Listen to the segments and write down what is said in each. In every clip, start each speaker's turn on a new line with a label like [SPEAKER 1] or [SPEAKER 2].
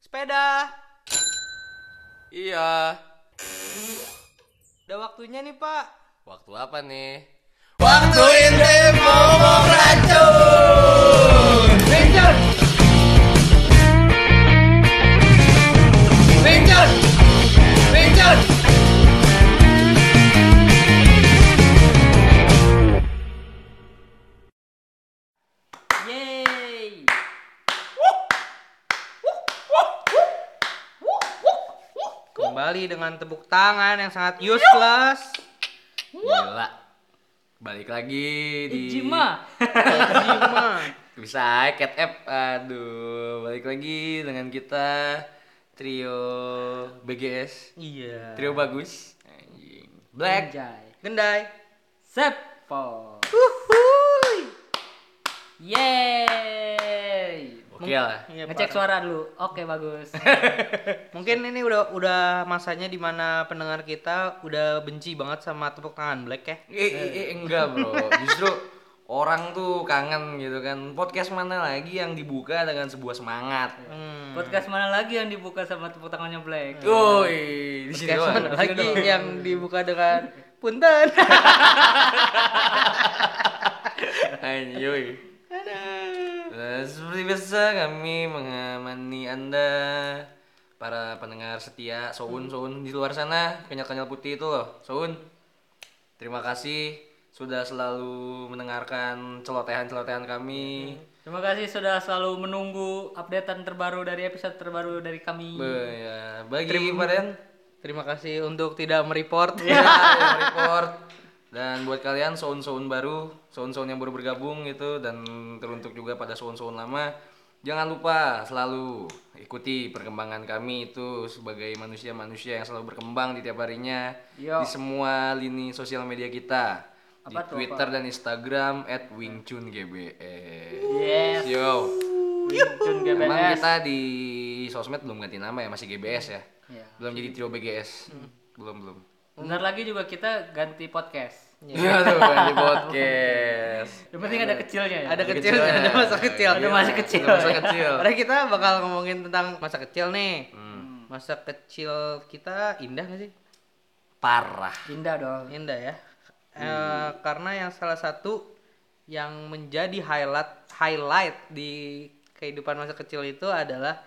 [SPEAKER 1] Sepeda.
[SPEAKER 2] Iya.
[SPEAKER 1] Udah waktunya nih, Pak.
[SPEAKER 2] Waktu apa nih?
[SPEAKER 3] Waktu ini momok racun Linjut Linjut Linjut
[SPEAKER 1] Yeay. Kembali dengan tepuk tangan yang sangat useless.
[SPEAKER 2] Gila. Balik lagi di
[SPEAKER 4] Ijima.
[SPEAKER 1] Jima.
[SPEAKER 2] Bisa Cat App. Aduh, balik lagi dengan kita trio BGS.
[SPEAKER 1] Iya.
[SPEAKER 2] Trio bagus. Anjing. Black.
[SPEAKER 4] Anjay.
[SPEAKER 1] Gendai.
[SPEAKER 4] Seppo. Yeay.
[SPEAKER 2] Oke lah.
[SPEAKER 1] Iya, Hmm.
[SPEAKER 4] Ngecek
[SPEAKER 1] Pak.
[SPEAKER 4] suara dulu. Oke, bagus.
[SPEAKER 1] Mungkin ini udah udah masanya dimana pendengar kita udah benci banget sama tepuk tangan black ya.
[SPEAKER 2] Eh, eh, eh, enggak, Bro. Justru orang tuh kangen gitu kan. Podcast mana lagi yang dibuka dengan sebuah semangat?
[SPEAKER 1] Hmm.
[SPEAKER 4] Podcast mana lagi yang dibuka sama tepuk tangannya Black?
[SPEAKER 2] Woi, di sini
[SPEAKER 1] Podcast
[SPEAKER 2] doang.
[SPEAKER 1] mana lagi yang dibuka dengan punten.
[SPEAKER 2] Anjoy. Eh, Seperti biasa kami mengamani anda para pendengar setia Soun Soun di luar sana kenyal kenyal putih itu loh Soun terima kasih sudah selalu mendengarkan celotehan celotehan kami
[SPEAKER 4] Terima kasih sudah selalu menunggu updatean terbaru dari episode terbaru dari kami.
[SPEAKER 2] Be- ya, bagi kalian
[SPEAKER 1] Terima kasih untuk tidak mereport.
[SPEAKER 4] Iya.
[SPEAKER 2] ya, yang report dan buat kalian Soun Soun baru Soun Soun yang baru bergabung gitu dan teruntuk juga pada Soun Soun lama jangan lupa selalu ikuti perkembangan kami itu sebagai manusia-manusia yang selalu berkembang di tiap harinya
[SPEAKER 4] Yo.
[SPEAKER 2] di semua lini sosial media kita di
[SPEAKER 4] Apa tuh,
[SPEAKER 2] Twitter dan Instagram @wingchungbs.
[SPEAKER 4] Yes.
[SPEAKER 2] Yo,
[SPEAKER 4] Wincun
[SPEAKER 2] emang
[SPEAKER 4] GBS.
[SPEAKER 2] kita di sosmed belum ganti nama ya masih GBS ya,
[SPEAKER 4] Ya.
[SPEAKER 2] belum jadi trio BGS, belum belum.
[SPEAKER 4] Bentar lagi juga kita ganti podcast.
[SPEAKER 2] Iya tuh di podcast.
[SPEAKER 4] Yang penting ada kecilnya ya.
[SPEAKER 1] Iya, Ada kecil, ada masa kecil.
[SPEAKER 4] Ada masa kecil.
[SPEAKER 2] Ada masa kecil.
[SPEAKER 1] Padahal kita bakal ngomongin tentang masa kecil nih. Masa kecil kita indah gak sih?
[SPEAKER 2] Parah.
[SPEAKER 4] Indah dong.
[SPEAKER 1] Indah ya. Eh, karena yang salah satu yang menjadi highlight highlight di kehidupan masa kecil itu adalah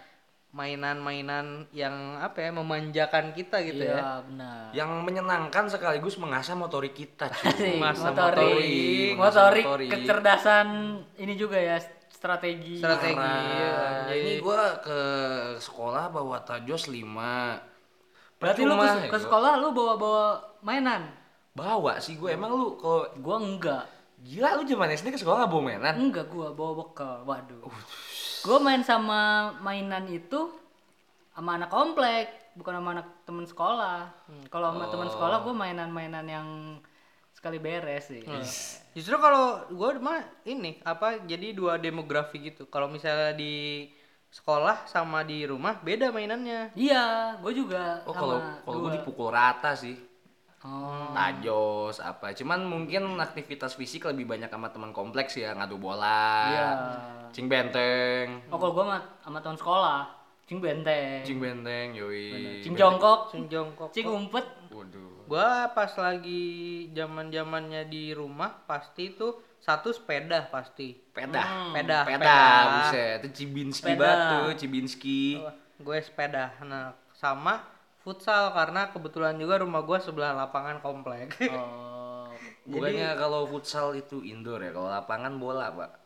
[SPEAKER 1] mainan-mainan yang apa ya memanjakan kita gitu
[SPEAKER 4] Iya,
[SPEAKER 1] ya.
[SPEAKER 4] benar.
[SPEAKER 2] Yang menyenangkan sekaligus mengasah motorik kita, cuy.
[SPEAKER 4] Asik,
[SPEAKER 1] Masa
[SPEAKER 2] motorik,
[SPEAKER 4] motorik,
[SPEAKER 2] masa
[SPEAKER 4] motorik,
[SPEAKER 2] motorik.
[SPEAKER 4] kecerdasan ini juga ya strategi.
[SPEAKER 1] Strategi. Iya,
[SPEAKER 2] Parah.
[SPEAKER 1] Jadi
[SPEAKER 2] Nah, Ini gua ke sekolah bawa tajos 5.
[SPEAKER 4] Berarti lu ke, ke sekolah lu bawa-bawa mainan?
[SPEAKER 2] Bawa sih gua emang lu kalau
[SPEAKER 4] Gua enggak.
[SPEAKER 2] gila lu zaman SD ke sekolah nggak bawa mainan.
[SPEAKER 4] Enggak gua bawa bekal. Waduh. Gua main sama mainan itu sama anak komplek, bukan sama anak temen sekolah.
[SPEAKER 2] Hmm.
[SPEAKER 4] Kalau sama
[SPEAKER 2] Oh.
[SPEAKER 4] temen sekolah gua mainan-mainan yang sekali beres sih.
[SPEAKER 2] Hmm.
[SPEAKER 1] Justru kalau gua mah ini apa jadi dua demografi gitu. Kalau misalnya di sekolah sama di rumah beda mainannya.
[SPEAKER 4] Iya, gua juga
[SPEAKER 2] Oh
[SPEAKER 4] sama
[SPEAKER 2] kalau kalau gua Hmm.
[SPEAKER 4] dua.
[SPEAKER 2] dipukul rata sih.
[SPEAKER 4] Oh,
[SPEAKER 2] Tajos apa. Cuman mungkin aktivitas fisik lebih banyak sama teman kompleks ya, ngadu bola.
[SPEAKER 4] iya.
[SPEAKER 2] Cing benteng.
[SPEAKER 4] Oh, kalau gua sama, sama teman sekolah, cing benteng.
[SPEAKER 2] Cing benteng, yoi.
[SPEAKER 4] Cing jongkok,
[SPEAKER 1] Cing jongkok.
[SPEAKER 4] cing umpet.
[SPEAKER 2] Waduh.
[SPEAKER 1] Gua pas lagi zaman zamannya di rumah pasti itu satu sepeda pasti.
[SPEAKER 2] Peda.
[SPEAKER 1] Peda,
[SPEAKER 2] Peda,
[SPEAKER 1] peda.
[SPEAKER 2] buset. Itu Cibinski
[SPEAKER 4] Peda.
[SPEAKER 2] batu, Cibinski.
[SPEAKER 1] Gue sepeda. Nah, sama futsal karena kebetulan juga rumah gua sebelah lapangan komplek.
[SPEAKER 4] Oh,
[SPEAKER 2] Bukannya kalau futsal itu indoor ya, kalau lapangan bola, Pak.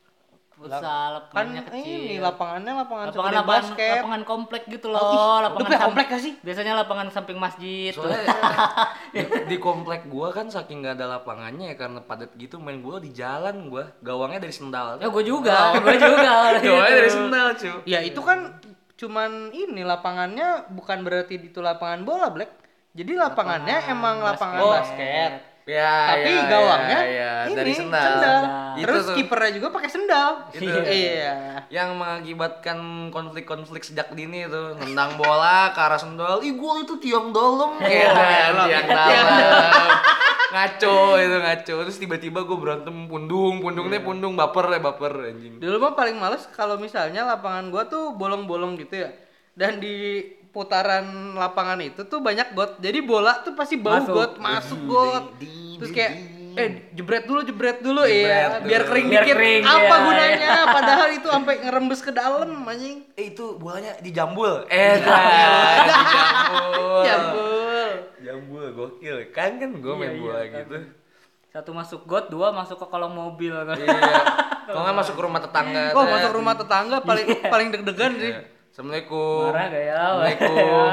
[SPEAKER 4] futsal,
[SPEAKER 1] kan
[SPEAKER 4] lapangannya kecil.
[SPEAKER 1] ini lapangannya lapangan,
[SPEAKER 4] lapangan
[SPEAKER 1] seperti
[SPEAKER 4] lapangan,
[SPEAKER 1] basket.
[SPEAKER 4] lapangan komplek gitu loh.
[SPEAKER 1] Oh,
[SPEAKER 4] lapangan
[SPEAKER 1] lebih
[SPEAKER 4] sam-
[SPEAKER 1] komplek gak sih?
[SPEAKER 4] Biasanya lapangan samping masjid.
[SPEAKER 2] Soalnya di,
[SPEAKER 1] Ya.
[SPEAKER 2] di komplek gua kan saking gak ada lapangannya ya karena padat gitu main bola di jalan gua. Gawangnya dari
[SPEAKER 1] Oh,
[SPEAKER 2] sendal.
[SPEAKER 4] Ya gue juga, gue juga.
[SPEAKER 2] Gawangnya dari sendal, cuy.
[SPEAKER 1] Ya itu kan cuman ini lapangannya bukan berarti itu lapangan bola, Black. Jadi lapangannya emang lapangan
[SPEAKER 2] basket.
[SPEAKER 1] basket.
[SPEAKER 2] Ya,
[SPEAKER 1] Tapi
[SPEAKER 2] ya,
[SPEAKER 1] gawangnya
[SPEAKER 2] ya, ya,
[SPEAKER 1] ini
[SPEAKER 2] dari sendal. Nah, Itu
[SPEAKER 1] Terus
[SPEAKER 2] tuh.
[SPEAKER 1] kipernya juga pakai sendal.
[SPEAKER 2] Itu.
[SPEAKER 1] Iya.
[SPEAKER 2] yang mengakibatkan konflik-konflik sejak dini itu nendang bola ke arah sendal ih gol itu tiang dalam ya tiang dalam ngaco itu ngaco terus tiba-tiba gue berantem pundung pundungnya
[SPEAKER 4] Iya.
[SPEAKER 2] pundung baper ya baper anjing
[SPEAKER 1] Dulu mah paling males kalau misalnya lapangan gua tuh bolong-bolong gitu ya. dan di putaran lapangan itu tuh banyak got jadi bola tuh pasti bau
[SPEAKER 4] Masuk.
[SPEAKER 1] got masuk got terus kayak eh jebret dulu jebret dulu iya
[SPEAKER 2] dulu.
[SPEAKER 1] biar kering
[SPEAKER 4] Biar
[SPEAKER 1] dikit
[SPEAKER 4] kering,
[SPEAKER 1] apa
[SPEAKER 4] iya.
[SPEAKER 1] gunanya padahal itu sampai ngerembes ke dalam anjing
[SPEAKER 2] Eh itu bolanya di jambul. Eh dah, di jambul.
[SPEAKER 1] Ya jambul
[SPEAKER 2] Jambul gokil. Kan kan gue
[SPEAKER 4] Iya,
[SPEAKER 2] main bola
[SPEAKER 4] iya, kan.
[SPEAKER 2] gitu.
[SPEAKER 4] Satu masuk got, dua masuk ke kolong mobil kan.
[SPEAKER 2] Iya. Kalau nggak masuk ke rumah tetangga.
[SPEAKER 1] oh
[SPEAKER 2] dah.
[SPEAKER 1] masuk rumah tetangga paling paling deg-degan sih
[SPEAKER 2] Iya. Assalamualaikum.
[SPEAKER 4] Marah gak ya?
[SPEAKER 2] Assalamualaikum.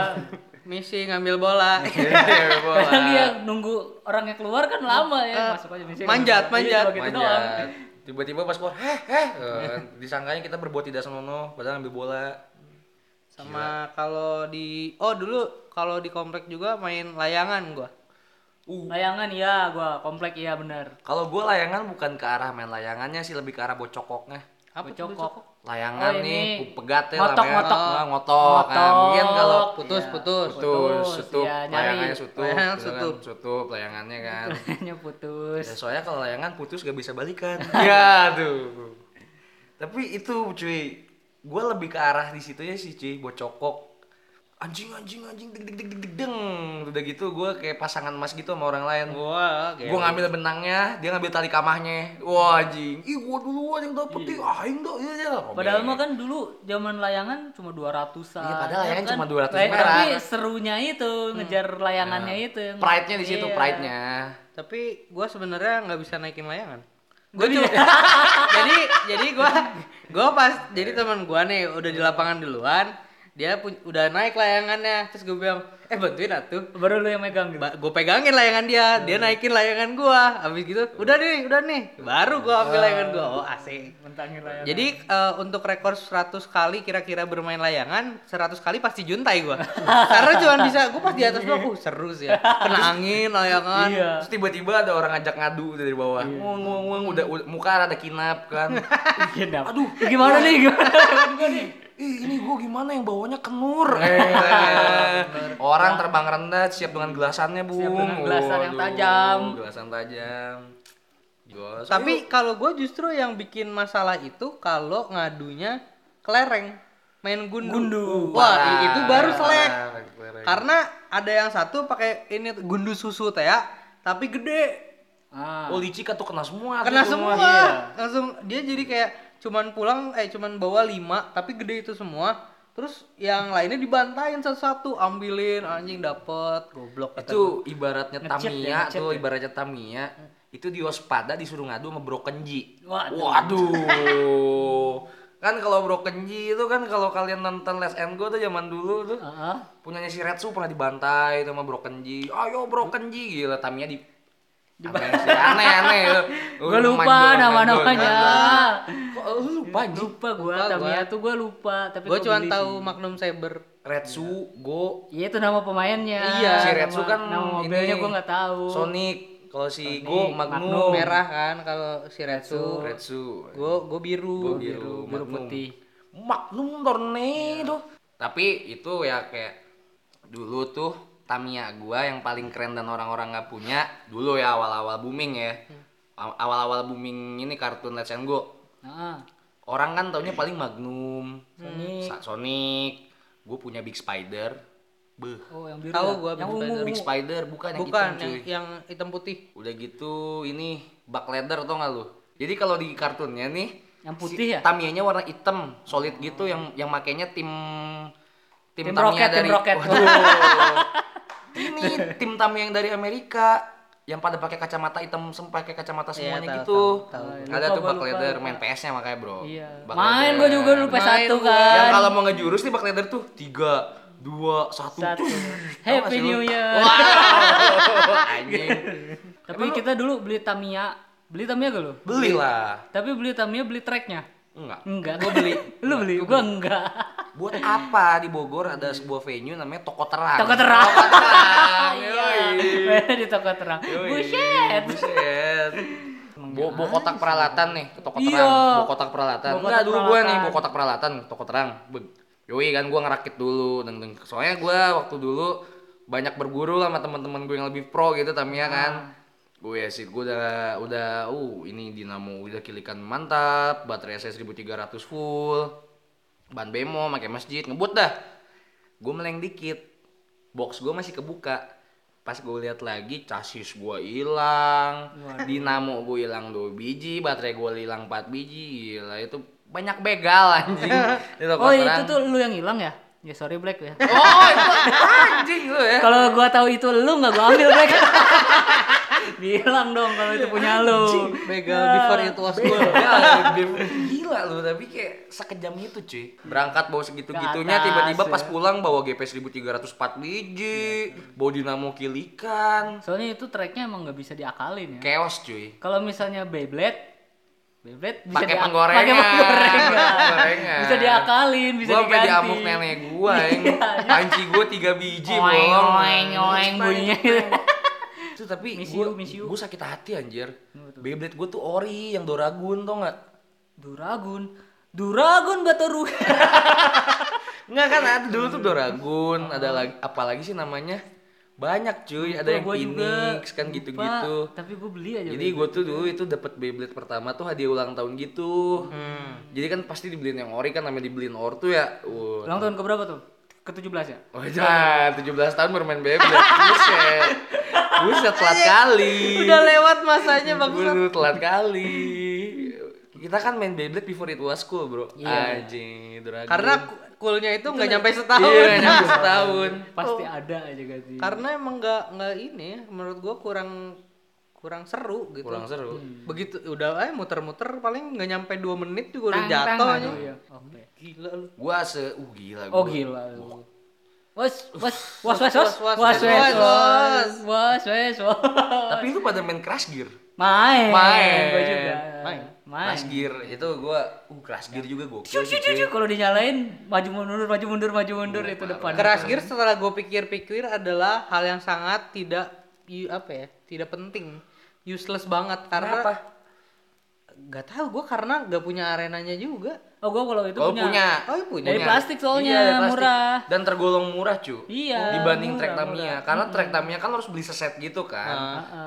[SPEAKER 1] misi ngambil bola
[SPEAKER 2] Iya, bola.
[SPEAKER 4] Kadang dia nunggu orangnya keluar kan lama ya, masuk aja misalnya.
[SPEAKER 1] Eh, manjat,
[SPEAKER 4] Iya,
[SPEAKER 1] manjat.
[SPEAKER 4] cuma gitu doang.
[SPEAKER 2] Manjat. Tiba-tiba pas keluar, heh heh. Eh, Disangkanya kita berbuat tidak senonoh, padahal ambil bola.
[SPEAKER 1] sama kalau di oh dulu kalau di komplek juga main layangan gua
[SPEAKER 2] Uh,
[SPEAKER 4] Layangan iya gua, komplek iya benar.
[SPEAKER 2] kalau gue layangan bukan ke arah main layangannya sih, lebih ke arah bocokoknya.
[SPEAKER 1] apa tuh
[SPEAKER 4] Cokok.
[SPEAKER 2] Layangan
[SPEAKER 4] Oh, ini.
[SPEAKER 2] nih, ku pegat ya
[SPEAKER 4] Ngotok,
[SPEAKER 2] layangan.
[SPEAKER 4] ngotok.
[SPEAKER 2] Ah, ngotok. Nah,
[SPEAKER 4] Ngotok.
[SPEAKER 2] mungkin kalau
[SPEAKER 1] dulu? putus putus
[SPEAKER 2] putus, sutup,
[SPEAKER 4] iya, nyari.
[SPEAKER 2] layangannya sutup,
[SPEAKER 1] Layangan
[SPEAKER 2] gitu kan,
[SPEAKER 1] sutup.
[SPEAKER 2] sutup, layangannya kan.
[SPEAKER 4] Hanya putus.
[SPEAKER 2] Ya, soalnya kalau layangan putus gak bisa balikan.
[SPEAKER 4] Iya,
[SPEAKER 2] ya tuh. Tapi itu cuy, gue lebih ke arah di situnya sih cuy, bocokok. Anjing anjing anjing deg deg deg deg deg deng. Udah gitu gue kayak pasangan mas gitu sama orang lain.
[SPEAKER 1] wah
[SPEAKER 2] Gue ngambil benangnya, dia ngambil tali kamahnya. Wah anjing, ih gue duluan yang dapet ih, aing dah. Iya, iya.
[SPEAKER 4] Padahal
[SPEAKER 2] Robek.
[SPEAKER 4] mah kan dulu zaman layangan cuma 200-an.
[SPEAKER 2] Iya, padahal layangan cuma 200
[SPEAKER 4] Lay-
[SPEAKER 2] merah.
[SPEAKER 4] kan? Tapi serunya itu ngejar layangannya itu. yang-
[SPEAKER 2] pride-nya di situ,
[SPEAKER 4] Iya.
[SPEAKER 2] pride-nya.
[SPEAKER 1] tapi gue sebenarnya nggak bisa naikin layangan gue cuma jadi jadi gue gue pas jadi teman gue nih udah di lapangan duluan dia pun, udah naik layangannya terus gue bilang eh bantuin atuh
[SPEAKER 4] Baru lu yang megang gitu.
[SPEAKER 1] gue pegangin layangan dia dia naikin layangan gue abis gitu udah nih udah nih baru gue ambil layangan gue oh asik
[SPEAKER 4] Mentangin layangan.
[SPEAKER 1] jadi eh, untuk rekor 100 kali kira-kira bermain layangan 100 kali pasti juntai gue karena cuma bisa gue pas di atas doang uh seru sih ya kena angin layangan
[SPEAKER 4] Iya.
[SPEAKER 2] Terus tiba-tiba ada orang ngajak ngadu dari bawah. Nguang, nguang, nguang, udah, udah- muka ada kinap kan.
[SPEAKER 4] Genap.
[SPEAKER 2] Aduh,
[SPEAKER 4] Iya, Ya, gimana nih? Gimana gua nih?
[SPEAKER 2] Ih, ini gue gimana yang bawanya kenur. Eh, iya, orang terbang rendah siap dengan gelasannya, Bung.
[SPEAKER 4] Siap dengan gelasan yang
[SPEAKER 2] Waduh,
[SPEAKER 4] tajam.
[SPEAKER 2] Gelasan tajam. Gos.
[SPEAKER 1] Tapi kalau gue justru yang bikin masalah itu kalau ngadunya kelereng, main gundu. Wah, i- itu baru selek. Karena ada yang satu pakai ini tuh, gundu susu teh ya, tapi gede.
[SPEAKER 4] Ah.
[SPEAKER 2] Oh, licik atau kena semua.
[SPEAKER 1] Kena
[SPEAKER 2] tuh. iya.
[SPEAKER 1] semua. iya.
[SPEAKER 4] Iya.
[SPEAKER 1] Langsung dia jadi kayak cuman pulang eh cuman bawa lima tapi gede itu semua. Terus yang lainnya dibantain satu-satu, ambilin anjing dapet, goblok kata
[SPEAKER 2] Itu ibaratnya
[SPEAKER 4] Ngecek ya,
[SPEAKER 2] Tamiya
[SPEAKER 4] ngecek
[SPEAKER 2] tuh,
[SPEAKER 4] ya.
[SPEAKER 2] ibaratnya Tamiya. Itu di waspada disuruh ngadu sama Bro Kenji.
[SPEAKER 4] Waduh.
[SPEAKER 2] Waduh. kan kalau Bro Kenji itu kan kalau kalian nonton Let's and Go tuh zaman dulu tuh.
[SPEAKER 4] Ah.
[SPEAKER 2] punyanya si Retsu pernah dibantai sama Bro Kenji ayo Bro Kenji gila Tamiya di aneh sih, aneh aneh Oh,
[SPEAKER 4] Gua lupa nama-namanya.
[SPEAKER 2] kok lu lupa anjing?
[SPEAKER 4] Lupa gua Tamiya tuh gua lupa, tapi
[SPEAKER 1] Gue
[SPEAKER 4] gua
[SPEAKER 1] cuman
[SPEAKER 4] beli
[SPEAKER 1] tahu
[SPEAKER 4] sih.
[SPEAKER 1] Magnum Cyber.
[SPEAKER 2] Retsu Go
[SPEAKER 4] Iya itu nama pemainnya.
[SPEAKER 1] Iya,
[SPEAKER 2] si
[SPEAKER 4] Nama-
[SPEAKER 2] Retsu kan
[SPEAKER 4] nama mobilnya
[SPEAKER 2] ini,
[SPEAKER 4] gua nggak tahu.
[SPEAKER 2] Sonic kalau si Go
[SPEAKER 4] Magnum.
[SPEAKER 2] Magnum,
[SPEAKER 1] Merah kan kalau si Retsu.
[SPEAKER 2] Retsu
[SPEAKER 1] Gue gue biru.
[SPEAKER 2] biru
[SPEAKER 4] biru
[SPEAKER 2] Magnum.
[SPEAKER 4] putih.
[SPEAKER 2] Magnum Tornado Iya. tapi itu ya kayak dulu tuh Tamiya gua yang paling keren dan orang-orang nggak punya dulu ya awal-awal booming ya
[SPEAKER 1] Hmm.
[SPEAKER 2] Aw- awal-awal booming ini kartun Let's and Go
[SPEAKER 4] Nah,
[SPEAKER 2] orang kan
[SPEAKER 1] Hmm.
[SPEAKER 2] taunya paling Magnum
[SPEAKER 4] Sonic.
[SPEAKER 2] Sa- Sonic gue punya Big Spider beh
[SPEAKER 4] oh yang biru.
[SPEAKER 1] Tahu
[SPEAKER 4] ya?
[SPEAKER 1] gua
[SPEAKER 4] yang
[SPEAKER 1] Big
[SPEAKER 4] ungu.
[SPEAKER 1] Spider.
[SPEAKER 2] Big Spider bukan yang
[SPEAKER 1] Bukan
[SPEAKER 2] hitam,
[SPEAKER 1] yang,
[SPEAKER 2] cuy
[SPEAKER 1] yang hitam putih.
[SPEAKER 2] udah gitu ini bak leather tau nggak lu jadi kalau di kartunnya nih
[SPEAKER 4] Yang putih ya?
[SPEAKER 2] Tamiya-nya warna hitam, solid gitu yang yang makainya tim
[SPEAKER 4] Tim
[SPEAKER 2] tim, Tamiya
[SPEAKER 4] Rocket, tim
[SPEAKER 2] dari
[SPEAKER 4] Rocket.
[SPEAKER 2] Waduh. ini tim Tamiya yang dari Amerika yang pada pakai kacamata hitam sempat pakai kacamata
[SPEAKER 1] Iya,
[SPEAKER 2] semuanya
[SPEAKER 1] tahu,
[SPEAKER 2] gitu.
[SPEAKER 1] tahu,
[SPEAKER 4] tahu.
[SPEAKER 2] Ada
[SPEAKER 4] Lupa,
[SPEAKER 2] tuh
[SPEAKER 4] gua
[SPEAKER 2] bak
[SPEAKER 4] lupa,
[SPEAKER 2] leather
[SPEAKER 4] lupa.
[SPEAKER 2] main PS-nya makanya, Bro.
[SPEAKER 4] Iya.
[SPEAKER 2] Bak
[SPEAKER 4] Main
[SPEAKER 2] leather.
[SPEAKER 4] gua juga dulu
[SPEAKER 1] Main
[SPEAKER 4] PS1
[SPEAKER 1] gua.
[SPEAKER 4] kan.
[SPEAKER 2] Yang Ya, kalau mau ngejurus nih bak leather tuh 3 2 1.
[SPEAKER 4] Satu. Happy New Year.
[SPEAKER 2] Anjing.
[SPEAKER 4] Tapi kita dulu beli Tamiya. Beli Tamiya gak lu?
[SPEAKER 2] Belilah.
[SPEAKER 4] Tapi beli Tamiya beli tracknya.
[SPEAKER 2] Enggak.
[SPEAKER 4] Enggak. Gua beli. lu beli? Gua enggak.
[SPEAKER 2] Buat apa di Bogor ada sebuah venue namanya Ah, Toko Terang?
[SPEAKER 4] Toko terang.
[SPEAKER 2] Terang,
[SPEAKER 4] Iya.
[SPEAKER 2] yoi.
[SPEAKER 4] Mainnya di toko terang. Buset.
[SPEAKER 2] Buset. Bawa, bawa kotak peralatan nih ke toko
[SPEAKER 4] Iya.
[SPEAKER 2] terang. Bawa kotak peralatan.
[SPEAKER 4] Bawa kotak
[SPEAKER 2] Enggak dulu gue nih
[SPEAKER 4] peralatan.
[SPEAKER 2] bawa kotak peralatan ke toko terang. Beg. Yoi kan gue ngerakit dulu. Deng -deng. Soalnya gue waktu dulu banyak berguru lah sama teman-teman gue yang lebih pro gitu
[SPEAKER 4] Ah.
[SPEAKER 2] Tamiya kan. Gue sih gue udah udah uh ini dinamo udah kilikan mantap, baterai saya 1300 full. Ban bemo pakai masjid ngebut dah. gue meleng dikit box gue masih kebuka pas gue lihat lagi chassis gue hilang dinamo gue hilang dua biji baterai gue hilang 4 biji gila itu banyak begal anjing Di toko
[SPEAKER 4] Oh itu
[SPEAKER 2] terang.
[SPEAKER 4] tuh lu yang hilang ya? Ya sorry Black ya.
[SPEAKER 2] oh itu anjing lu ya
[SPEAKER 4] Kalau gua tahu itu lu nggak gua ambil Black. Bilang dong kalau itu punya lu.
[SPEAKER 1] Begal before it was cool.
[SPEAKER 2] Gila, Ya, gila lu tapi kayak sekejam itu cuy berangkat bawa segitu-gitunya
[SPEAKER 4] Ke atas,
[SPEAKER 2] tiba-tiba pas
[SPEAKER 4] ya. Iya.
[SPEAKER 2] pulang bawa GP 1304 biji bawa dinamo kilikan
[SPEAKER 4] Soalnya itu tracknya emang nggak bisa diakalin ya.
[SPEAKER 2] chaos cuy
[SPEAKER 4] Kalau misalnya Beyblade, Beyblade bisa
[SPEAKER 2] Pakai
[SPEAKER 4] dia-
[SPEAKER 2] penggorengan.
[SPEAKER 4] pakai penggorengan.
[SPEAKER 2] Penggorengan.
[SPEAKER 4] bisa diakalin, bisa
[SPEAKER 2] gua sampai
[SPEAKER 4] diganti. Iya,
[SPEAKER 2] diamuk nenek gua yang panci gua tiga biji
[SPEAKER 4] Oeng,
[SPEAKER 2] bolong
[SPEAKER 4] oeng, oeng bunyinya.
[SPEAKER 2] gitu. itu tapi
[SPEAKER 4] Miss
[SPEAKER 2] gua,
[SPEAKER 4] you, miss you.
[SPEAKER 2] gua sakit hati anjir Beyblade gua tuh ori yang Doragun tau nggak
[SPEAKER 4] Duragun, Duragun Batoru.
[SPEAKER 2] Nggak kan ada dulu
[SPEAKER 4] Hmm.
[SPEAKER 2] tuh Doragun, ada lagi apalagi sih namanya? Banyak cuy, ada yang
[SPEAKER 4] Gua juga
[SPEAKER 2] Phoenix kan
[SPEAKER 4] lupa, Iya,
[SPEAKER 2] gitu-gitu.
[SPEAKER 4] Tapi gue beli aja.
[SPEAKER 2] Jadi gue tuh dulu itu dapat Beyblade pertama tuh hadiah ulang tahun gitu.
[SPEAKER 4] Hmm.
[SPEAKER 2] Jadi kan pasti dibeliin yang ori kan namanya dibeliin or tuh ya. Wah.
[SPEAKER 4] Ulang tahun ke berapa tuh? Ke 17 ya?
[SPEAKER 2] Oh, iya. Wajah, 17 Nah, tahun bermain Beyblade. Buset. Buset telat kali.
[SPEAKER 1] Udah lewat masanya bang.
[SPEAKER 2] Udah telat kali. Kita kan main Beyblade before it was cool, Bro. Anjing, Doragun.
[SPEAKER 1] Karena ku- coolnya itu nggak nyampe setahun.
[SPEAKER 2] Iya, nyampe setahun.
[SPEAKER 4] Pasti
[SPEAKER 2] Oh.
[SPEAKER 4] ada aja ganti.
[SPEAKER 1] Karena emang nggak nggak ini, ya, menurut gua kurang kurang seru gitu.
[SPEAKER 2] Kurang seru.
[SPEAKER 1] Begitu udah eh muter-muter paling nggak nyampe 2 menit juga udah
[SPEAKER 4] Tang-tang
[SPEAKER 1] jatuh
[SPEAKER 4] aja.
[SPEAKER 1] aja.
[SPEAKER 4] Iya,
[SPEAKER 2] Oh,
[SPEAKER 4] oke.
[SPEAKER 1] Gila lu.
[SPEAKER 2] Gua se uh gila
[SPEAKER 4] Oh
[SPEAKER 2] gua.
[SPEAKER 4] gila. Was was was was was was was was
[SPEAKER 1] was, was.
[SPEAKER 4] was was was
[SPEAKER 2] Tapi lu pada main Crash Gear.
[SPEAKER 4] main
[SPEAKER 2] Main.
[SPEAKER 4] Gua juga main main
[SPEAKER 2] Crash Gear itu gua uh Crash Gear juga gua.
[SPEAKER 4] Cucu, cucu, cucu. kalau dinyalain maju mundur maju mundur maju mundur
[SPEAKER 2] Iya,
[SPEAKER 4] itu depan
[SPEAKER 1] Crash Gear setelah gue pikir-pikir adalah hal yang sangat tidak i- apa ya tidak penting useless banget karena
[SPEAKER 2] Kenapa?
[SPEAKER 1] nggak tahu gue karena nggak punya arenanya juga
[SPEAKER 4] oh gua kalau itu
[SPEAKER 2] Oh
[SPEAKER 4] punya,
[SPEAKER 2] punya.
[SPEAKER 1] oh iya punya
[SPEAKER 4] dari plastik soalnya
[SPEAKER 2] Iya, dari plastik.
[SPEAKER 4] murah
[SPEAKER 2] Dan tergolong murah, cu.
[SPEAKER 4] Iya,
[SPEAKER 2] Dibanding
[SPEAKER 4] murah,
[SPEAKER 2] trek Tamiya.
[SPEAKER 4] murah.
[SPEAKER 2] Karena trek Tamiya kan harus beli seset gitu kan.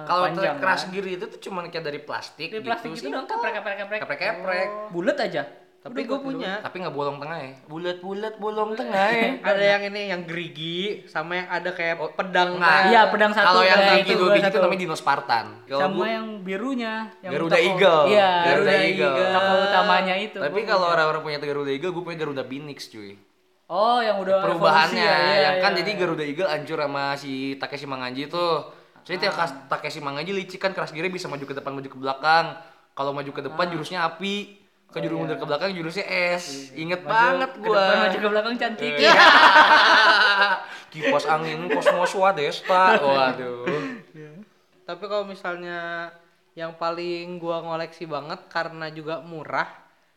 [SPEAKER 2] Kalau
[SPEAKER 4] ah.
[SPEAKER 2] trek
[SPEAKER 4] panjang kan?
[SPEAKER 2] Crash Gear itu tuh cuman kayak dari plastik
[SPEAKER 4] dari plastik
[SPEAKER 2] gitu.
[SPEAKER 4] gitu dong keprek keprek keprek
[SPEAKER 2] Keprek-keprek.
[SPEAKER 4] bulat aja
[SPEAKER 1] tapi gue punya
[SPEAKER 4] Oh.
[SPEAKER 2] Tapi nggak bolong tengah ya. Bulat-bulat bolong tengah ya.
[SPEAKER 1] ada yang ini yang gerigi sama yang ada kayak pedang
[SPEAKER 2] Nah,
[SPEAKER 1] kayak-
[SPEAKER 4] Iya, pedang satu,
[SPEAKER 2] Kalau yang
[SPEAKER 4] pedang
[SPEAKER 2] gigi
[SPEAKER 4] satu,
[SPEAKER 2] dua
[SPEAKER 4] pedang
[SPEAKER 2] biji itu
[SPEAKER 4] satu.
[SPEAKER 2] namanya Dino Spartan. Kalau
[SPEAKER 4] sama
[SPEAKER 2] gua-
[SPEAKER 4] yang birunya yang utama-
[SPEAKER 2] Garuda Oh, Eagle.
[SPEAKER 4] iya
[SPEAKER 2] Garuda
[SPEAKER 4] Garuda
[SPEAKER 2] Eagle.
[SPEAKER 4] Eagle tokoh utamanya itu
[SPEAKER 2] Tapi
[SPEAKER 4] Gua
[SPEAKER 2] kalau orang-orang punya Garuda Eagle, gue punya Garuda Phoenix cuy.
[SPEAKER 4] Oh, yang udah
[SPEAKER 2] Perubahannya,
[SPEAKER 4] evolusi ya, iya,
[SPEAKER 2] yang kan
[SPEAKER 4] iya.
[SPEAKER 2] jadi Garuda Eagle hancur sama si Takeshi Manganji tuh.
[SPEAKER 4] Ah.
[SPEAKER 2] Jadi tiap kas- Takeshi Manganji licik kan keras giri bisa maju ke depan, maju ke belakang. Kalau maju ke
[SPEAKER 4] Ah.
[SPEAKER 2] depan jurusnya api,
[SPEAKER 4] Oh, iya.
[SPEAKER 2] ke jurus mundur ke belakang jurusnya es. Inget banget
[SPEAKER 4] Ke
[SPEAKER 2] gua.
[SPEAKER 4] depan maju ke belakang cantik.
[SPEAKER 2] Iya. Kipas angin kosmos wadesta. Waduh.
[SPEAKER 1] tapi kalau misalnya yang paling gua ngoleksi banget karena juga murah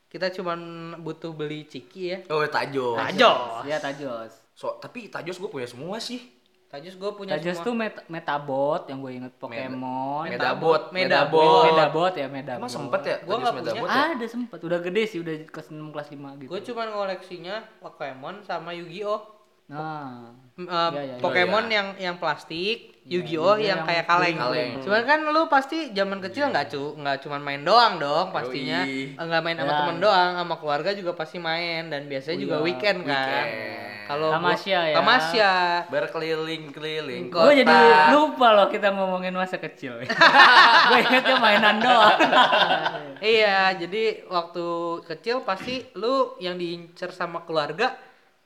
[SPEAKER 1] kita cuman butuh beli ciki ya
[SPEAKER 2] Oh, Tajos.
[SPEAKER 1] tajos
[SPEAKER 4] Iya, Tajos.
[SPEAKER 2] So, tapi Tajos gue punya semua sih.
[SPEAKER 1] tajos gue punya semua
[SPEAKER 4] Tajos tuh met- Metabot yang gue inget Pokemon.
[SPEAKER 2] Medabot,
[SPEAKER 1] Medabot.
[SPEAKER 4] Medabot ya, Medabot.
[SPEAKER 2] Emang sempet ya?
[SPEAKER 1] Gua
[SPEAKER 2] Tajos
[SPEAKER 1] nggak punya.
[SPEAKER 2] Medabot ya?
[SPEAKER 4] Ada sempet, udah gede sih, udah kelas 6 kelas 5 gitu.
[SPEAKER 1] gue cuman koleksinya Pokemon sama Yu-Gi-Oh
[SPEAKER 4] Nah,
[SPEAKER 1] M- eh,
[SPEAKER 4] Iya, iya, iya.
[SPEAKER 1] Pokemon yang yang plastik, Yu-Gi-Oh yang, kayak kaleng.
[SPEAKER 2] kaleng.
[SPEAKER 1] Cuman kan lu pasti zaman kecil
[SPEAKER 4] Iya.
[SPEAKER 1] nggak cu nggak cuman main doang dong pastinya. Eh,
[SPEAKER 2] Yoi.
[SPEAKER 1] Nggak main sama
[SPEAKER 4] Ya.
[SPEAKER 1] temen doang, sama keluarga juga pasti main dan biasanya juga weekend kan. Kalau gua-
[SPEAKER 4] Oh iya, Tamasya ya.
[SPEAKER 1] Tamasya.
[SPEAKER 2] Berkeliling-keliling kota.
[SPEAKER 4] gue jadi lupa loh kita ngomongin masa kecil. gue ingetnya mainan doang.
[SPEAKER 1] Iya, jadi waktu kecil pasti lu yang diincer sama keluarga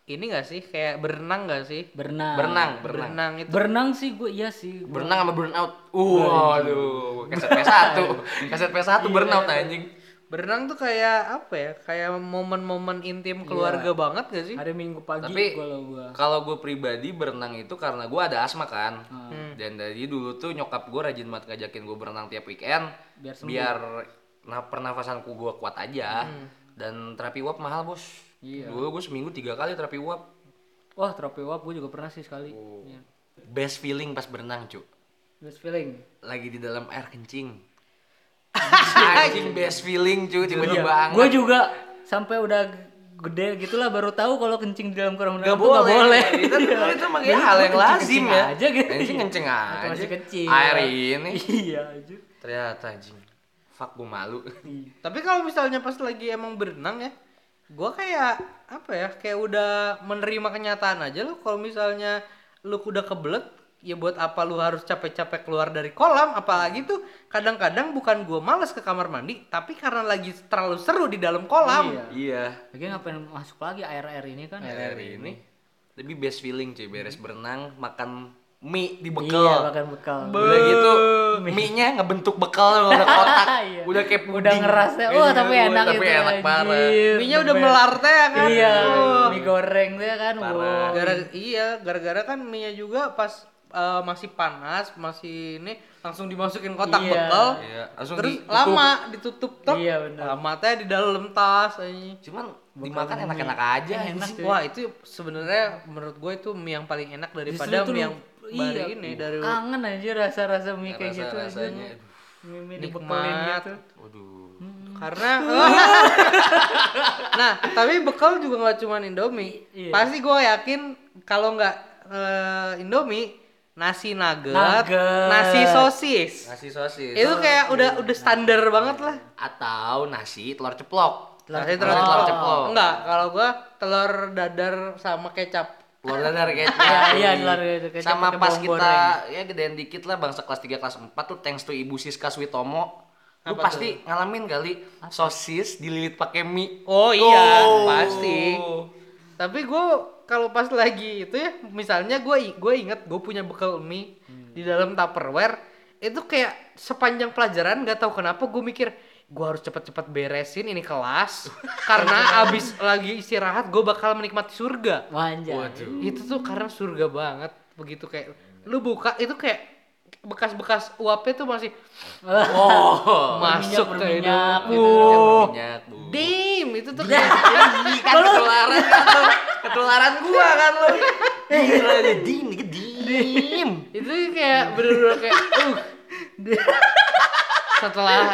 [SPEAKER 1] ini gak sih kayak berenang gak sih?
[SPEAKER 4] Berenang.
[SPEAKER 2] Berenang, berenang.
[SPEAKER 1] Berenang itu
[SPEAKER 4] Berenang sih gue iya sih. Gua-
[SPEAKER 2] Berenang sama burnout. Waduh, Iya. kaset P1. Kaset P1 burnout anjing.
[SPEAKER 1] berenang tuh kayak apa ya? Kayak momen-momen intim
[SPEAKER 4] Iya.
[SPEAKER 1] keluarga banget gak sih?
[SPEAKER 4] Ada minggu pagi
[SPEAKER 2] Tapi
[SPEAKER 4] kalau gue.
[SPEAKER 2] kalau gue pribadi berenang itu karena gue ada asma kan. Dan dari dulu tuh nyokap gue rajin banget ngajakin gue berenang tiap weekend
[SPEAKER 4] Biar
[SPEAKER 2] biar, biar na- pernafasanku gue kuat aja. Dan terapi uap mahal, Bos. Dulu gue seminggu tiga kali terapi uap.
[SPEAKER 4] Wah, tropi wap gue juga pernah sih sekali.
[SPEAKER 2] Oh.
[SPEAKER 4] Iya.
[SPEAKER 2] Best feeling pas berenang, cu.
[SPEAKER 4] Best feeling.
[SPEAKER 2] Lagi di dalam air kencing. Anjing best feeling, cu. Tiba-tiba anget.
[SPEAKER 4] Gue juga sampai udah gede gitulah baru tahu kalau kencing di dalam kolam renang tuh
[SPEAKER 2] Gak boleh. Iya.
[SPEAKER 4] nggak boleh.
[SPEAKER 2] Itu, itu, itu makanya
[SPEAKER 4] Dulu
[SPEAKER 2] hal yang
[SPEAKER 4] kencing-kencing
[SPEAKER 2] lazim ya.
[SPEAKER 4] aja gitu.
[SPEAKER 2] Kencing kencing aja.
[SPEAKER 4] Waktu masih kecil.
[SPEAKER 2] Air ini.
[SPEAKER 4] iya aja.
[SPEAKER 2] Ternyata anjing. Fuck gue malu.
[SPEAKER 1] Tapi kalau misalnya pas lagi emang berenang ya, gue kayak apa ya kayak udah menerima kenyataan aja lo kalau misalnya lu udah kebelet ya buat apa lu harus capek-capek keluar dari kolam apalagi tuh kadang-kadang bukan gue males ke kamar mandi tapi karena lagi terlalu seru di dalam kolam
[SPEAKER 2] Iya.
[SPEAKER 4] Lagi ngapain masuk lagi air-air ini kan?
[SPEAKER 2] Air ini. Tapi best feeling cuy, beres berenang, makan mie di
[SPEAKER 4] Iya,
[SPEAKER 2] bekal.
[SPEAKER 4] makan bekal.
[SPEAKER 2] Udah gitu, mie-nya ngebentuk bekal udah kotak.
[SPEAKER 4] Iya.
[SPEAKER 2] Udah kayak puding.
[SPEAKER 4] Udah ngerasnya, wah
[SPEAKER 2] Iya,
[SPEAKER 4] tapi enak gitu ya,
[SPEAKER 2] tapi
[SPEAKER 4] itu.
[SPEAKER 2] enak parah.
[SPEAKER 4] anjir.
[SPEAKER 1] mie nya udah melar teh ya kan
[SPEAKER 4] Iya,
[SPEAKER 1] Oh.
[SPEAKER 4] mie goreng tuh ya kan.
[SPEAKER 2] Parah.
[SPEAKER 4] Wow.
[SPEAKER 1] gara iya gara-gara kan mie nya juga pas eh, masih panas masih ini langsung dimasukin kotak
[SPEAKER 4] Iya.
[SPEAKER 1] bekal
[SPEAKER 2] Iya, langsung
[SPEAKER 1] terus
[SPEAKER 2] ditutup.
[SPEAKER 1] lama ditutup tok
[SPEAKER 4] Iya, benar.
[SPEAKER 1] lama teh di dalam tas anjing.
[SPEAKER 2] Cuman dimakan enak-enak aja.
[SPEAKER 4] Eh, Enak
[SPEAKER 2] anjing.
[SPEAKER 4] cuy.
[SPEAKER 1] wah itu sebenarnya menurut gue itu mie yang paling enak
[SPEAKER 4] Justru
[SPEAKER 1] daripada
[SPEAKER 4] itu
[SPEAKER 1] mie yang
[SPEAKER 4] iya,
[SPEAKER 1] bari ini dari
[SPEAKER 4] kangen aja rasa-rasa mie kayak gitu aja.
[SPEAKER 2] Rasa-rasanya.
[SPEAKER 4] Mie mie dibekelin
[SPEAKER 1] Nikmat.
[SPEAKER 4] gitu.
[SPEAKER 2] Waduh.
[SPEAKER 1] karena nah tapi bekal juga nggak cuma Indomie
[SPEAKER 4] I- iya.
[SPEAKER 1] pasti gue yakin kalau nggak eh, Indomie nasi nugget,
[SPEAKER 4] Nugget. Iya.
[SPEAKER 1] nasi sosis
[SPEAKER 2] Nasi sosis.
[SPEAKER 1] itu kayak udah udah standar banget lah
[SPEAKER 2] Atau nasi telur ceplok.
[SPEAKER 1] Telur
[SPEAKER 2] nasi
[SPEAKER 1] ceplok. Oh.
[SPEAKER 2] telur ceplok.
[SPEAKER 1] enggak kalau gua telur dadar sama kecap
[SPEAKER 2] Telur dadar kecap.
[SPEAKER 4] Iya, iya, telur dadar kecap
[SPEAKER 2] Sama
[SPEAKER 4] pakai
[SPEAKER 2] pas
[SPEAKER 4] bawang
[SPEAKER 2] kita ya gedean dikit lah bangsa kelas 3 kelas 4 tuh thanks to Ibu Siska Switomo. Lu
[SPEAKER 1] Apa
[SPEAKER 2] pasti ngalamin kali sosis dililit pakai mie.
[SPEAKER 1] oh iya
[SPEAKER 2] Oh.
[SPEAKER 1] pasti tapi gua kalau pas lagi itu ya misalnya gua i- gua inget gue punya bekal mie di dalam tupperware itu kayak sepanjang pelajaran nggak tahu kenapa gue mikir gua harus cepet-cepet beresin ini kelas karena abis lagi istirahat gue bakal menikmati surga
[SPEAKER 4] Wah, anjay.
[SPEAKER 1] itu tuh karena surga banget begitu kayak lu buka itu kayak bekas-bekas uapnya tuh masih
[SPEAKER 2] Oh.
[SPEAKER 1] masuk ke hidung.
[SPEAKER 4] berminyak gitu.
[SPEAKER 1] Wuh.
[SPEAKER 2] Minyak, Bu.
[SPEAKER 1] Damn, itu tuh kayak
[SPEAKER 2] Ih, kan ketularan kan lu. Ketularan gua kan lu. Gila gedim, gedim.
[SPEAKER 1] itu kayak bener-bener kayak uh. setelah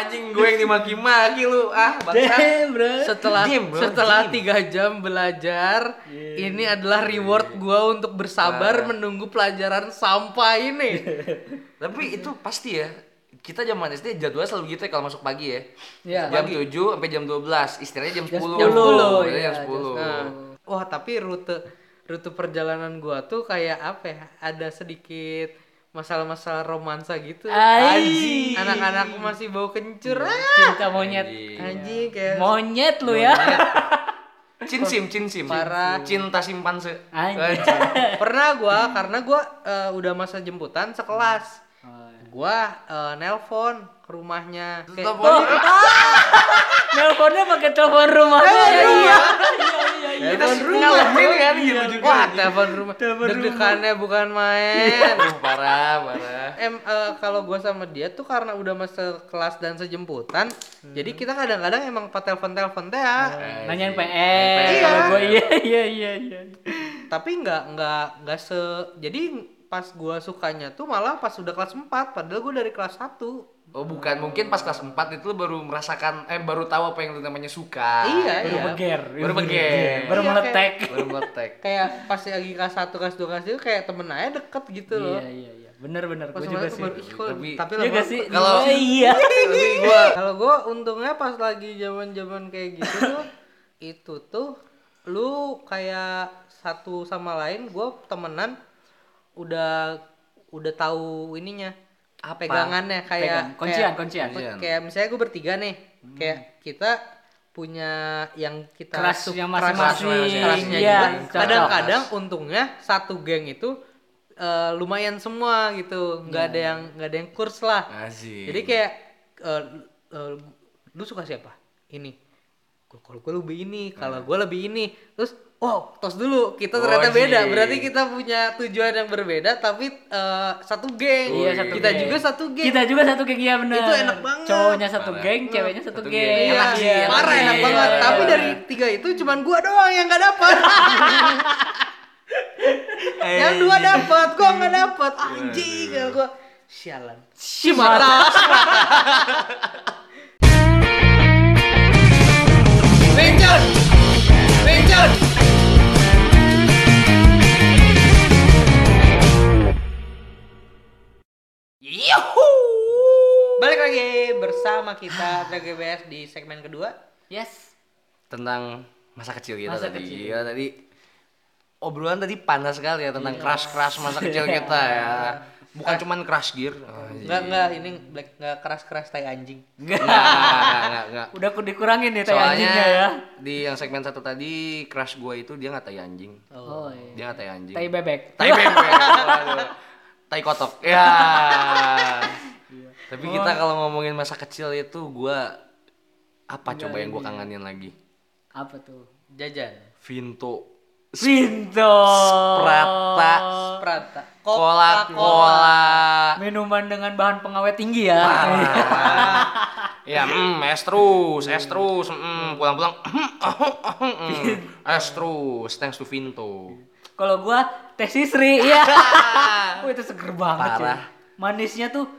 [SPEAKER 2] Anjing gue yang dimaki-maki lu. Ah, bangsat.
[SPEAKER 4] Damn, bro.
[SPEAKER 1] setelah
[SPEAKER 2] Dim, bro,
[SPEAKER 1] setelah
[SPEAKER 2] dim.
[SPEAKER 1] tiga jam belajar ini adalah reward gua untuk bersabar menunggu pelajaran sampai ini
[SPEAKER 2] Tapi itu pasti ya. Kita zaman SD jadwal selalu gitu ya kalau masuk pagi ya.
[SPEAKER 4] Iya.
[SPEAKER 2] Jam 7 sampai jam 12, istirahatnya jam 10.
[SPEAKER 4] Jam 10,
[SPEAKER 2] Istirahatnya
[SPEAKER 4] iya,
[SPEAKER 2] jam
[SPEAKER 4] jam
[SPEAKER 2] 10.
[SPEAKER 1] Nah, wah tapi rute rute perjalanan gua tuh kayak apa ya? Ada sedikit masalah-masalah romansa gitu.
[SPEAKER 4] Ai.
[SPEAKER 1] Anjing. Anak-anak masih bau kencur. ah.
[SPEAKER 4] Cinta monyet.
[SPEAKER 1] Anjing kayak
[SPEAKER 4] Monyet lu ya.
[SPEAKER 2] Cinsim, cinsim.
[SPEAKER 1] Parah.
[SPEAKER 2] Cinta simpanse.
[SPEAKER 4] Ah, Anjing.
[SPEAKER 1] pernah gua karena gua eh, udah masa jemputan sekelas. Gua eh, nelpon ke rumahnya. Kayak,
[SPEAKER 2] Teleponnya
[SPEAKER 4] Oh, Nelponnya pakai telepon rumahnya.
[SPEAKER 1] Telepon
[SPEAKER 4] Iya.
[SPEAKER 2] kita
[SPEAKER 1] Iya,
[SPEAKER 2] ngalamin kan gitu juga.
[SPEAKER 1] Wah, telepon rumah. Deg-degannya bukan main.
[SPEAKER 2] Aduh, parah, parah.
[SPEAKER 1] em eh, kalau gua sama dia tuh karena udah masa kelas dan sejemputan jadi kita kadang-kadang emang pak telepon telepon teh ya.
[SPEAKER 2] Iya,
[SPEAKER 4] Nanyain
[SPEAKER 2] Nanyain
[SPEAKER 4] PS.
[SPEAKER 2] PR.
[SPEAKER 4] Kalau gua iya iya iya iya.
[SPEAKER 1] tapi nggak nggak nggak se jadi pas gua sukanya tuh malah pas udah kelas 4 padahal gua dari kelas 1
[SPEAKER 2] Oh bukan, mungkin pas kelas 4 itu lu baru merasakan, eh baru tahu apa yang namanya suka.
[SPEAKER 1] Iya,
[SPEAKER 4] Baru
[SPEAKER 1] iya.
[SPEAKER 4] beger.
[SPEAKER 2] Baru beger.
[SPEAKER 4] Baru
[SPEAKER 1] Iya,
[SPEAKER 4] meletek.
[SPEAKER 2] Baru meletek.
[SPEAKER 1] kayak pas lagi kelas 1 kelas 2 kelas 3 kayak temen aja deket gitu loh
[SPEAKER 4] Iya iya iya. Bener bener.
[SPEAKER 1] pas
[SPEAKER 4] Gua
[SPEAKER 1] malah
[SPEAKER 4] juga
[SPEAKER 1] tuh
[SPEAKER 4] sih.
[SPEAKER 1] baru, "Ih, kok-
[SPEAKER 2] Tapi-
[SPEAKER 1] tapi
[SPEAKER 4] Iya
[SPEAKER 1] lama-
[SPEAKER 4] gak sih?
[SPEAKER 2] Kalau-
[SPEAKER 4] iya.
[SPEAKER 2] Tapi gua
[SPEAKER 1] kalau gua untungnya pas lagi zaman zaman kayak gitu tuh itu tuh lu kayak satu sama lain gua temenan udah udah tahu ininya ah,
[SPEAKER 2] Apa?
[SPEAKER 1] pegangannya kayak
[SPEAKER 4] Pegang. Kuncian,
[SPEAKER 1] kayak-
[SPEAKER 4] kuncian. Hmm.
[SPEAKER 1] kayak, misalnya gua bertiga nih kayak kita punya yang kita
[SPEAKER 4] Kelas
[SPEAKER 1] su-
[SPEAKER 4] yang
[SPEAKER 1] keras-
[SPEAKER 4] masing-masing.
[SPEAKER 1] kerasnya
[SPEAKER 4] Iya,
[SPEAKER 1] juga.
[SPEAKER 4] cocok.
[SPEAKER 1] gitu. kadang-kadang untungnya satu geng itu eh, lumayan semua gitu
[SPEAKER 4] Iya.
[SPEAKER 1] nggak ada yang nggak ada yang kurs lah
[SPEAKER 2] Asik.
[SPEAKER 1] jadi kayak eh, eh, lu suka siapa? Ini. Gua- Kalau gue lebih ini, kalau
[SPEAKER 4] Hmm.
[SPEAKER 1] gue lebih ini. Terus wow, tos dulu. Kita
[SPEAKER 4] Oh,
[SPEAKER 1] ternyata
[SPEAKER 2] Wajib.
[SPEAKER 1] beda. Berarti kita punya tujuan yang berbeda tapi eh, satu geng.
[SPEAKER 4] Iya, satu
[SPEAKER 1] kita
[SPEAKER 4] geng.
[SPEAKER 1] juga satu geng.
[SPEAKER 4] Kita juga satu geng iya bener.
[SPEAKER 1] Itu enak banget.
[SPEAKER 4] Cowoknya satu
[SPEAKER 2] Parah.
[SPEAKER 4] geng, ceweknya satu
[SPEAKER 2] Satu
[SPEAKER 4] geng.
[SPEAKER 2] geng.
[SPEAKER 1] Iya,
[SPEAKER 4] Enak sih, enak
[SPEAKER 1] parah
[SPEAKER 4] sih.
[SPEAKER 1] enak banget.
[SPEAKER 4] Iya,
[SPEAKER 1] Tapi
[SPEAKER 4] iya.
[SPEAKER 1] dari tiga itu cuman gua doang yang gak dapat. yang dua dapat, gua nggak dapat. Anjing, gua sialan.
[SPEAKER 4] Shimata.
[SPEAKER 3] Benjot! Benjot!
[SPEAKER 1] Balik lagi bersama kita TGBS di segmen kedua.
[SPEAKER 4] Yes.
[SPEAKER 2] tentang masa kecil kita
[SPEAKER 4] Masa
[SPEAKER 2] tadi.
[SPEAKER 4] kecil.
[SPEAKER 2] Ya, tadi obrolan tadi panas sekali ya
[SPEAKER 4] Iya.
[SPEAKER 2] tentang crush-crush masa kecil kita ya.
[SPEAKER 4] Ah.
[SPEAKER 2] Bukan cuman crush gear. Oh, iya.
[SPEAKER 1] Enggak enggak ini black enggak keras-keras tai anjing.
[SPEAKER 2] Enggak, enggak, enggak, enggak.
[SPEAKER 4] Udah aku dikurangin nih tai
[SPEAKER 2] Soalnya
[SPEAKER 4] anjingnya ya.
[SPEAKER 2] di yang segmen satu tadi crush gua itu dia nggak tai anjing.
[SPEAKER 4] Oh, iya.
[SPEAKER 2] Dia nggak tai anjing.
[SPEAKER 4] Tai bebek.
[SPEAKER 2] Tai bebek. Waduh. tai kotok. Ya.
[SPEAKER 4] Iya.
[SPEAKER 2] Tapi kita
[SPEAKER 4] Oh.
[SPEAKER 2] kalau ngomongin masa kecil itu gua apa coba yang gua kangenin lagi?
[SPEAKER 4] Apa tuh?
[SPEAKER 1] Jajan.
[SPEAKER 2] Vinto,
[SPEAKER 4] Pinto. Oh.
[SPEAKER 2] Prata,
[SPEAKER 1] Prata.
[SPEAKER 2] Coca Cola.
[SPEAKER 4] Minuman dengan bahan pengawet tinggi ya.
[SPEAKER 2] Ya, Iya, mm, es terus, es terus, mm, pulang-pulang, mm, es terus, thanks to Vinto.
[SPEAKER 4] Kalau gua teh sisri ya. Wah, itu seger banget cuy.
[SPEAKER 2] Parah.
[SPEAKER 4] Manisnya tuh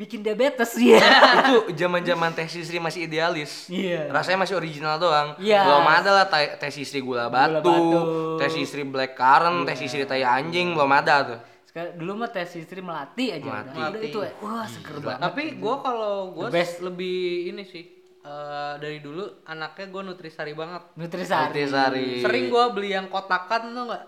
[SPEAKER 4] bikin diabetes ya.
[SPEAKER 2] itu zaman-zaman teh sisri masih idealis.
[SPEAKER 4] Iya.
[SPEAKER 2] Rasanya masih original doang.
[SPEAKER 4] Iya.
[SPEAKER 2] Belum ada lah tai- teh sisri gula batu, Iya.
[SPEAKER 4] batu.
[SPEAKER 2] teh sisri black currant, teh sisri tai anjing belum ada tuh.
[SPEAKER 4] Sekali- dulu mah teh sisri melati aja
[SPEAKER 2] Melati. Iya.
[SPEAKER 4] udah. Udah itu ya. Wah, seger banget.
[SPEAKER 1] Tapi gua kalau gua
[SPEAKER 4] The best.
[SPEAKER 1] lebih ini sih eh, dari dulu anaknya gua nutrisari banget.
[SPEAKER 4] Nutrisari.
[SPEAKER 2] Nutrisari.
[SPEAKER 1] Sering gua beli yang kotakan tuh enggak?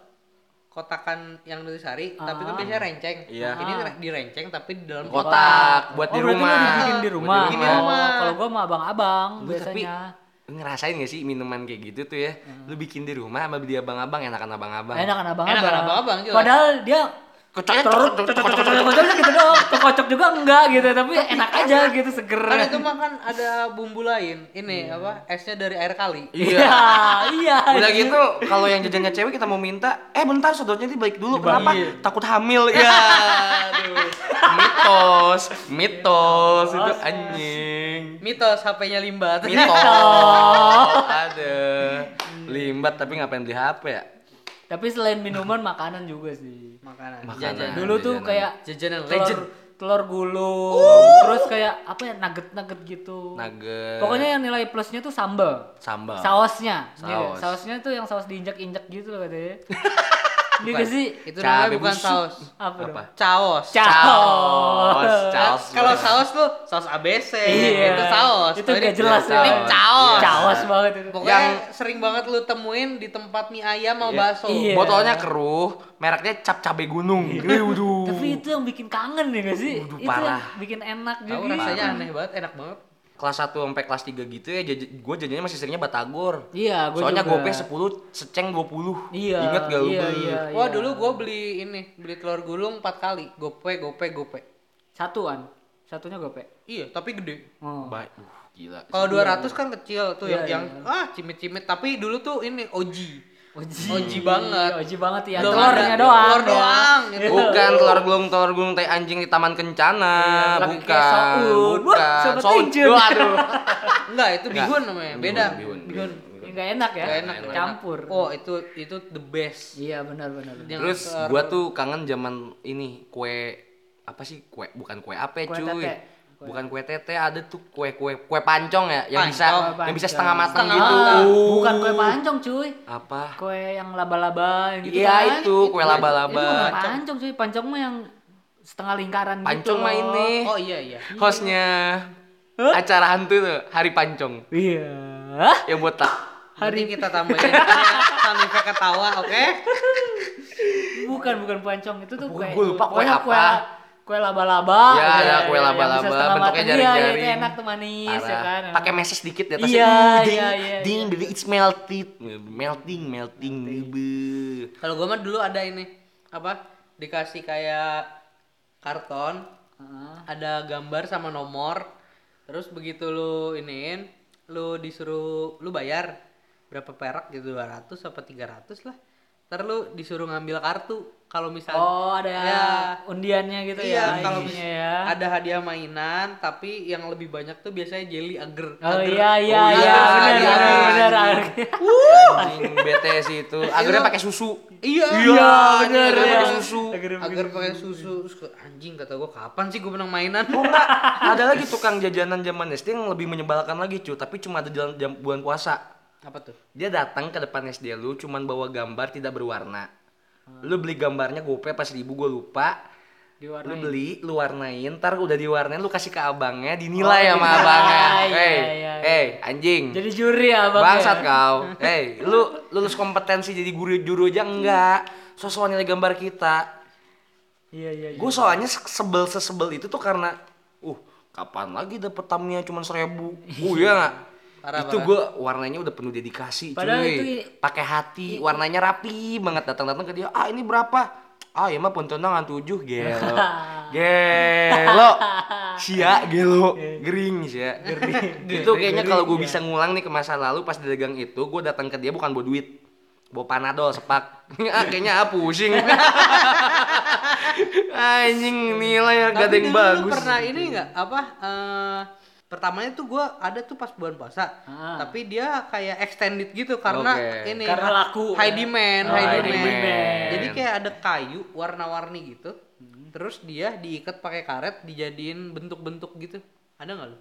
[SPEAKER 1] Kotakan yang nutrisari, tapi
[SPEAKER 4] Ah.
[SPEAKER 1] kan biasanya renceng.
[SPEAKER 2] Iya.
[SPEAKER 1] Ini di renceng tapi di dalam
[SPEAKER 2] kotak buat
[SPEAKER 4] oh,
[SPEAKER 2] di
[SPEAKER 4] berarti lu
[SPEAKER 2] rumah.
[SPEAKER 4] dibikin di rumah.
[SPEAKER 2] Buat di rumah.
[SPEAKER 4] Oh, kalau gua mah abang-abang
[SPEAKER 2] Lu tapi
[SPEAKER 4] biasanya.
[SPEAKER 2] lu ngerasain gak sih minuman kayak gitu tuh ya? Lu bikin di rumah sama beli abang-abang enakan abang-abang.
[SPEAKER 4] Enakan kan abang-abang.
[SPEAKER 2] kan
[SPEAKER 1] Enakan abang-abang jelas.
[SPEAKER 4] Padahal dia
[SPEAKER 2] Kocoknya
[SPEAKER 4] terus
[SPEAKER 2] Eh, cocok- cocok- cocok- cocok.
[SPEAKER 4] kocok gitu doang. Kocok juga enggak gitu, tapi enak aja gitu seger.
[SPEAKER 1] Kan itu mah kan ada bumbu lain. Ini apa? Esnya dari air kali.
[SPEAKER 2] Iya.
[SPEAKER 4] iya.
[SPEAKER 2] Udah gitu kalau yang jajannya cewek kita mau minta, eh bentar sodotnya dibalik dulu. Kenapa? Takut hamil. Ya. aduh. mitos, mitos itu anjing.
[SPEAKER 1] Mitos HP-nya limbat.
[SPEAKER 2] Mitos. Ada. Limbat tapi ngapain beli HP ya?
[SPEAKER 4] Tapi selain minuman makanan juga sih.
[SPEAKER 1] Makanan.
[SPEAKER 2] Nah, Makanan.
[SPEAKER 1] Jajan.
[SPEAKER 4] Dulu tuh
[SPEAKER 2] jajanan.
[SPEAKER 4] kayak
[SPEAKER 1] Jajanan
[SPEAKER 4] telur,
[SPEAKER 1] legend.
[SPEAKER 4] telur gulung, terus kayak apa ya nugget-nugget gitu.
[SPEAKER 2] Nugget.
[SPEAKER 4] Pokoknya yang nilai plusnya tuh sambal.
[SPEAKER 2] sambal.
[SPEAKER 4] Sausnya.
[SPEAKER 2] Saus.
[SPEAKER 4] Iya, sausnya tuh yang saus diinjak-injak gitu loh katanya. Ini gak sih?
[SPEAKER 1] Itu namanya
[SPEAKER 2] Cabe
[SPEAKER 1] bukan
[SPEAKER 2] busuk.
[SPEAKER 1] saus.
[SPEAKER 4] Apa? dong?
[SPEAKER 2] Apa?
[SPEAKER 1] Caos.
[SPEAKER 4] Caos.
[SPEAKER 2] Saus, saus.
[SPEAKER 1] Kalau saus lu saus ABC,
[SPEAKER 4] Iya.
[SPEAKER 1] itu saus.
[SPEAKER 4] Itu
[SPEAKER 1] Kalau
[SPEAKER 4] gak
[SPEAKER 1] ini-
[SPEAKER 4] jelas ya.
[SPEAKER 1] Ini caos.
[SPEAKER 2] Iya.
[SPEAKER 4] Caos banget itu.
[SPEAKER 1] Pokoknya sering banget lu temuin di tempat mie ayam sama bakso.
[SPEAKER 4] Iya.
[SPEAKER 2] Botolnya keruh, mereknya cap cabe gunung. Ih, waduh.
[SPEAKER 4] Tapi itu yang bikin kangen ya gak sih?
[SPEAKER 2] Waduh,
[SPEAKER 4] itu yang
[SPEAKER 2] parah.
[SPEAKER 4] bikin enak
[SPEAKER 1] Tahu
[SPEAKER 4] juga.
[SPEAKER 1] rasanya aneh banget, enak banget.
[SPEAKER 2] kelas 1 sampai kelas 3 gitu ya gue jajannya masih seringnya batagor
[SPEAKER 4] Iya, gue
[SPEAKER 2] soalnya
[SPEAKER 4] juga.
[SPEAKER 2] gope 10 seceng 20
[SPEAKER 4] Iya,
[SPEAKER 2] inget gak lu
[SPEAKER 4] iya,
[SPEAKER 2] Bel?
[SPEAKER 4] iya.
[SPEAKER 1] Wah, dulu gua beli ini, beli telur gulung 4 kali. Gope, gope, gope.
[SPEAKER 4] Satuan. Satunya gope.
[SPEAKER 1] Iya, tapi gede.
[SPEAKER 4] Oh.
[SPEAKER 2] Ba- uh, gila
[SPEAKER 1] Kalau 200 kan kecil tuh
[SPEAKER 4] Iya,
[SPEAKER 1] yang yang ah cimit-cimit, tapi dulu tuh ini oji.
[SPEAKER 4] Oji.
[SPEAKER 1] Oji banget.
[SPEAKER 4] Oji banget ya.
[SPEAKER 1] Belum ada.
[SPEAKER 4] Telurnya doang.
[SPEAKER 1] Telur
[SPEAKER 4] ya.
[SPEAKER 1] doang, gitu.
[SPEAKER 2] bukan telur gulung telur gulung teh anjing di taman kencana
[SPEAKER 1] Ah,
[SPEAKER 4] Iya, pakai
[SPEAKER 2] bukan
[SPEAKER 4] kayak soun. Wah,
[SPEAKER 2] bukan
[SPEAKER 4] sobat
[SPEAKER 2] Soun.
[SPEAKER 4] tinjun.
[SPEAKER 2] Wah, aduh.
[SPEAKER 1] Enggak, itu bihun namanya. Beda.
[SPEAKER 2] Bihun,
[SPEAKER 1] Bihun.
[SPEAKER 4] Ya, Nggak enak ya.
[SPEAKER 1] Nggak enak, nggak
[SPEAKER 4] Campur.
[SPEAKER 1] enak. Oh, itu itu the best.
[SPEAKER 4] Iya benar benar. benar.
[SPEAKER 1] Yang
[SPEAKER 2] terus
[SPEAKER 1] telur-
[SPEAKER 2] gua tuh kangen zaman ini kue apa sih kue bukan kue apa
[SPEAKER 4] Kue
[SPEAKER 2] cuy
[SPEAKER 4] tete. Kue-
[SPEAKER 2] bukan kue tete ada tuh kue kue kue pancong ya yang bisa
[SPEAKER 1] Pancong.
[SPEAKER 2] yang bisa setengah matang
[SPEAKER 1] Setengah
[SPEAKER 2] gitu
[SPEAKER 1] matang.
[SPEAKER 2] Uh,
[SPEAKER 4] Bukan kue pancong cuy.
[SPEAKER 2] apa
[SPEAKER 4] Kue yang laba-laba yang gitu
[SPEAKER 2] Iya,
[SPEAKER 4] kan.
[SPEAKER 2] itu, kue laba-laba.
[SPEAKER 4] Itu bukan pancong cuy. Pancong mah yang setengah lingkaran gitu.
[SPEAKER 2] pancong mah
[SPEAKER 4] loh.
[SPEAKER 2] ini
[SPEAKER 1] Oh iya iya.
[SPEAKER 2] hostnya acara hantu tuh hari pancong
[SPEAKER 4] Iya.
[SPEAKER 2] yang botak
[SPEAKER 1] Hari kita tambahin sound effect ketawa, oke?
[SPEAKER 4] Bukan bukan pancong itu tuh
[SPEAKER 2] Bukan,
[SPEAKER 4] kue.
[SPEAKER 2] gua lupa kue
[SPEAKER 4] pokoknya
[SPEAKER 2] apa.
[SPEAKER 4] Kue laba-laba.
[SPEAKER 2] Ya,
[SPEAKER 4] gitu
[SPEAKER 2] ada kue
[SPEAKER 4] yang bisa
[SPEAKER 2] laba-laba,
[SPEAKER 4] setengah
[SPEAKER 2] bentuknya
[SPEAKER 4] matang. Iya,
[SPEAKER 2] jaring-jaring.
[SPEAKER 4] Iya, itu enak tuh manis ya kan.
[SPEAKER 2] Parah. pakai meses dikit di atasnya
[SPEAKER 4] Iya,
[SPEAKER 2] Ih, ding,
[SPEAKER 4] iya, iya,
[SPEAKER 2] ding,
[SPEAKER 4] iya.
[SPEAKER 2] ding, it's melted melting melting Be.
[SPEAKER 1] Kalau gua mah dulu ada ini apa? Dikasih kayak karton, ada gambar sama nomor. Terus begitu lu iniin, lu disuruh lu bayar berapa perak gitu 200 apa 300 lah. Ntar lu disuruh ngambil kartu. Kalau misalnya
[SPEAKER 4] Oh, ada
[SPEAKER 1] Ya.
[SPEAKER 4] undiannya gitu
[SPEAKER 1] Iya,
[SPEAKER 4] ya.
[SPEAKER 1] kalau
[SPEAKER 4] isinya
[SPEAKER 1] mis-
[SPEAKER 4] ya.
[SPEAKER 1] ada hadiah mainan, tapi yang lebih banyak tuh biasanya jelly agar.
[SPEAKER 4] Oh iya iya iya
[SPEAKER 2] Oh, iya,
[SPEAKER 4] benar
[SPEAKER 2] iya,
[SPEAKER 4] benar
[SPEAKER 2] iya.
[SPEAKER 4] benar.
[SPEAKER 2] anjing bete sih itu akhirnya pakai susu
[SPEAKER 1] Iya,
[SPEAKER 2] iya bener
[SPEAKER 1] agar
[SPEAKER 2] pakai
[SPEAKER 1] pakai susu.
[SPEAKER 2] susu
[SPEAKER 1] Agar pakai susu. Terus ke- anjing kata gua kapan sih gua menang mainan?
[SPEAKER 2] Oh. ada lagi tukang jajanan zaman SD yang lebih menyebalkan lagi cuy tapi cuma ada jalan jam bulan puasa
[SPEAKER 1] Apa tuh?
[SPEAKER 2] dia datang ke depan SD lu cuman bawa gambar tidak berwarna lu beli gambarnya gope pas ribu gue lupa lu
[SPEAKER 4] diwarnain
[SPEAKER 2] beli lu warnain ntar udah diwarnain lu kasih ke abangnya dinilai sama
[SPEAKER 4] dinilai.
[SPEAKER 2] abangnya
[SPEAKER 4] Iya,
[SPEAKER 2] hey
[SPEAKER 4] iya,
[SPEAKER 2] hey anjing
[SPEAKER 4] jadi juri ya bang
[SPEAKER 2] bangsat kau hey lu lulus kompetensi jadi guru juru aja enggak sosok nilai gambar kita
[SPEAKER 4] iya iya iya.
[SPEAKER 2] gue soalnya se- sebel sesebel itu tuh karena uh kapan lagi dapet tamnya cuma seribu uh ya nggak
[SPEAKER 1] Parah,
[SPEAKER 2] itu
[SPEAKER 1] parah.
[SPEAKER 2] gue warnanya udah penuh dedikasi
[SPEAKER 4] Padahal
[SPEAKER 2] cuy
[SPEAKER 4] itu-
[SPEAKER 2] pakai hati warnanya rapi banget datang datang ke dia ah ini berapa ah ya mah pontonangan tujuh gelo gelo sia gelo gering sia itu kayaknya
[SPEAKER 4] iya.
[SPEAKER 2] kalau gue bisa ngulang nih ke masa lalu pas dagang itu gue datang ke dia bukan bawa duit bawa panadol sepak ah, kayaknya ah pusing anjing nilai harga ada
[SPEAKER 1] Tapi
[SPEAKER 2] yang
[SPEAKER 1] dulu lu
[SPEAKER 2] bagus
[SPEAKER 1] pernah ini nggak apa eh, pertamanya tuh gua ada tuh pas bulan puasa
[SPEAKER 4] Ah.
[SPEAKER 1] tapi dia kayak extended gitu karena
[SPEAKER 2] Oke.
[SPEAKER 1] ini
[SPEAKER 4] Karena laku,
[SPEAKER 1] high
[SPEAKER 4] ya.
[SPEAKER 1] demand
[SPEAKER 2] Oh,
[SPEAKER 1] high
[SPEAKER 2] high
[SPEAKER 1] demand.
[SPEAKER 2] demand.
[SPEAKER 1] jadi kayak ada kayu warna-warni gitu terus dia diikat pakai karet dijadiin bentuk-bentuk gitu ada nggak lu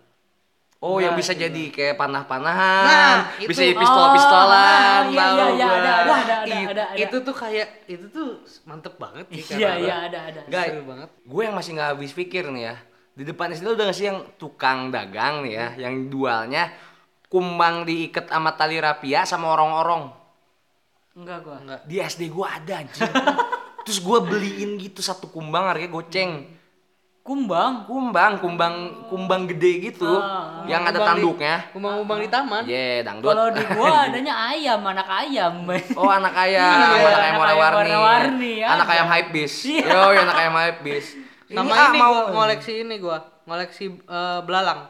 [SPEAKER 2] oh yang bisa jadi kayak panah-panahan
[SPEAKER 1] Nah,
[SPEAKER 2] bisa
[SPEAKER 1] itu.
[SPEAKER 2] jadi pistol-pistolan
[SPEAKER 4] Oh, iya,
[SPEAKER 2] tahu
[SPEAKER 4] iya, iya,
[SPEAKER 2] gua.
[SPEAKER 4] ada, ada, ada,
[SPEAKER 1] It-
[SPEAKER 4] ada, ada.
[SPEAKER 1] itu tuh kayak itu tuh mantep banget sih
[SPEAKER 4] iya
[SPEAKER 1] karena-
[SPEAKER 4] iya ada ada
[SPEAKER 2] Guys,
[SPEAKER 1] Seru banget.
[SPEAKER 2] gue yang masih nggak habis pikir nih ya. Di depan istri udah nggak sih yang tukang dagang nih ya, yang dualnya kumbang diikat sama tali rapia sama orang-orang.
[SPEAKER 4] enggak gua
[SPEAKER 1] Enggak.
[SPEAKER 2] Di SD gue ada anjing. Terus gue beliin gitu satu kumbang harganya goceng.
[SPEAKER 4] kumbang
[SPEAKER 2] Kumbang, kumbang, kumbang gede gitu,
[SPEAKER 4] Ah,
[SPEAKER 2] yang ada
[SPEAKER 1] Kumbang di-
[SPEAKER 2] tanduknya.
[SPEAKER 1] kumbang-kumbang di taman
[SPEAKER 2] Ye, dangdut.
[SPEAKER 4] kalau di gua adanya ayam anak ayam
[SPEAKER 2] Oh anak ayam,
[SPEAKER 4] Iya,
[SPEAKER 2] anak ayam warna-warni.
[SPEAKER 4] warna-warni, ya.
[SPEAKER 2] Anak ayam hype bis.
[SPEAKER 4] Iya.
[SPEAKER 2] Yo, anak ayam hype bis.
[SPEAKER 1] sama
[SPEAKER 2] ah,
[SPEAKER 1] ini gua ngoleksi ini gua ngoleksi eh, belalang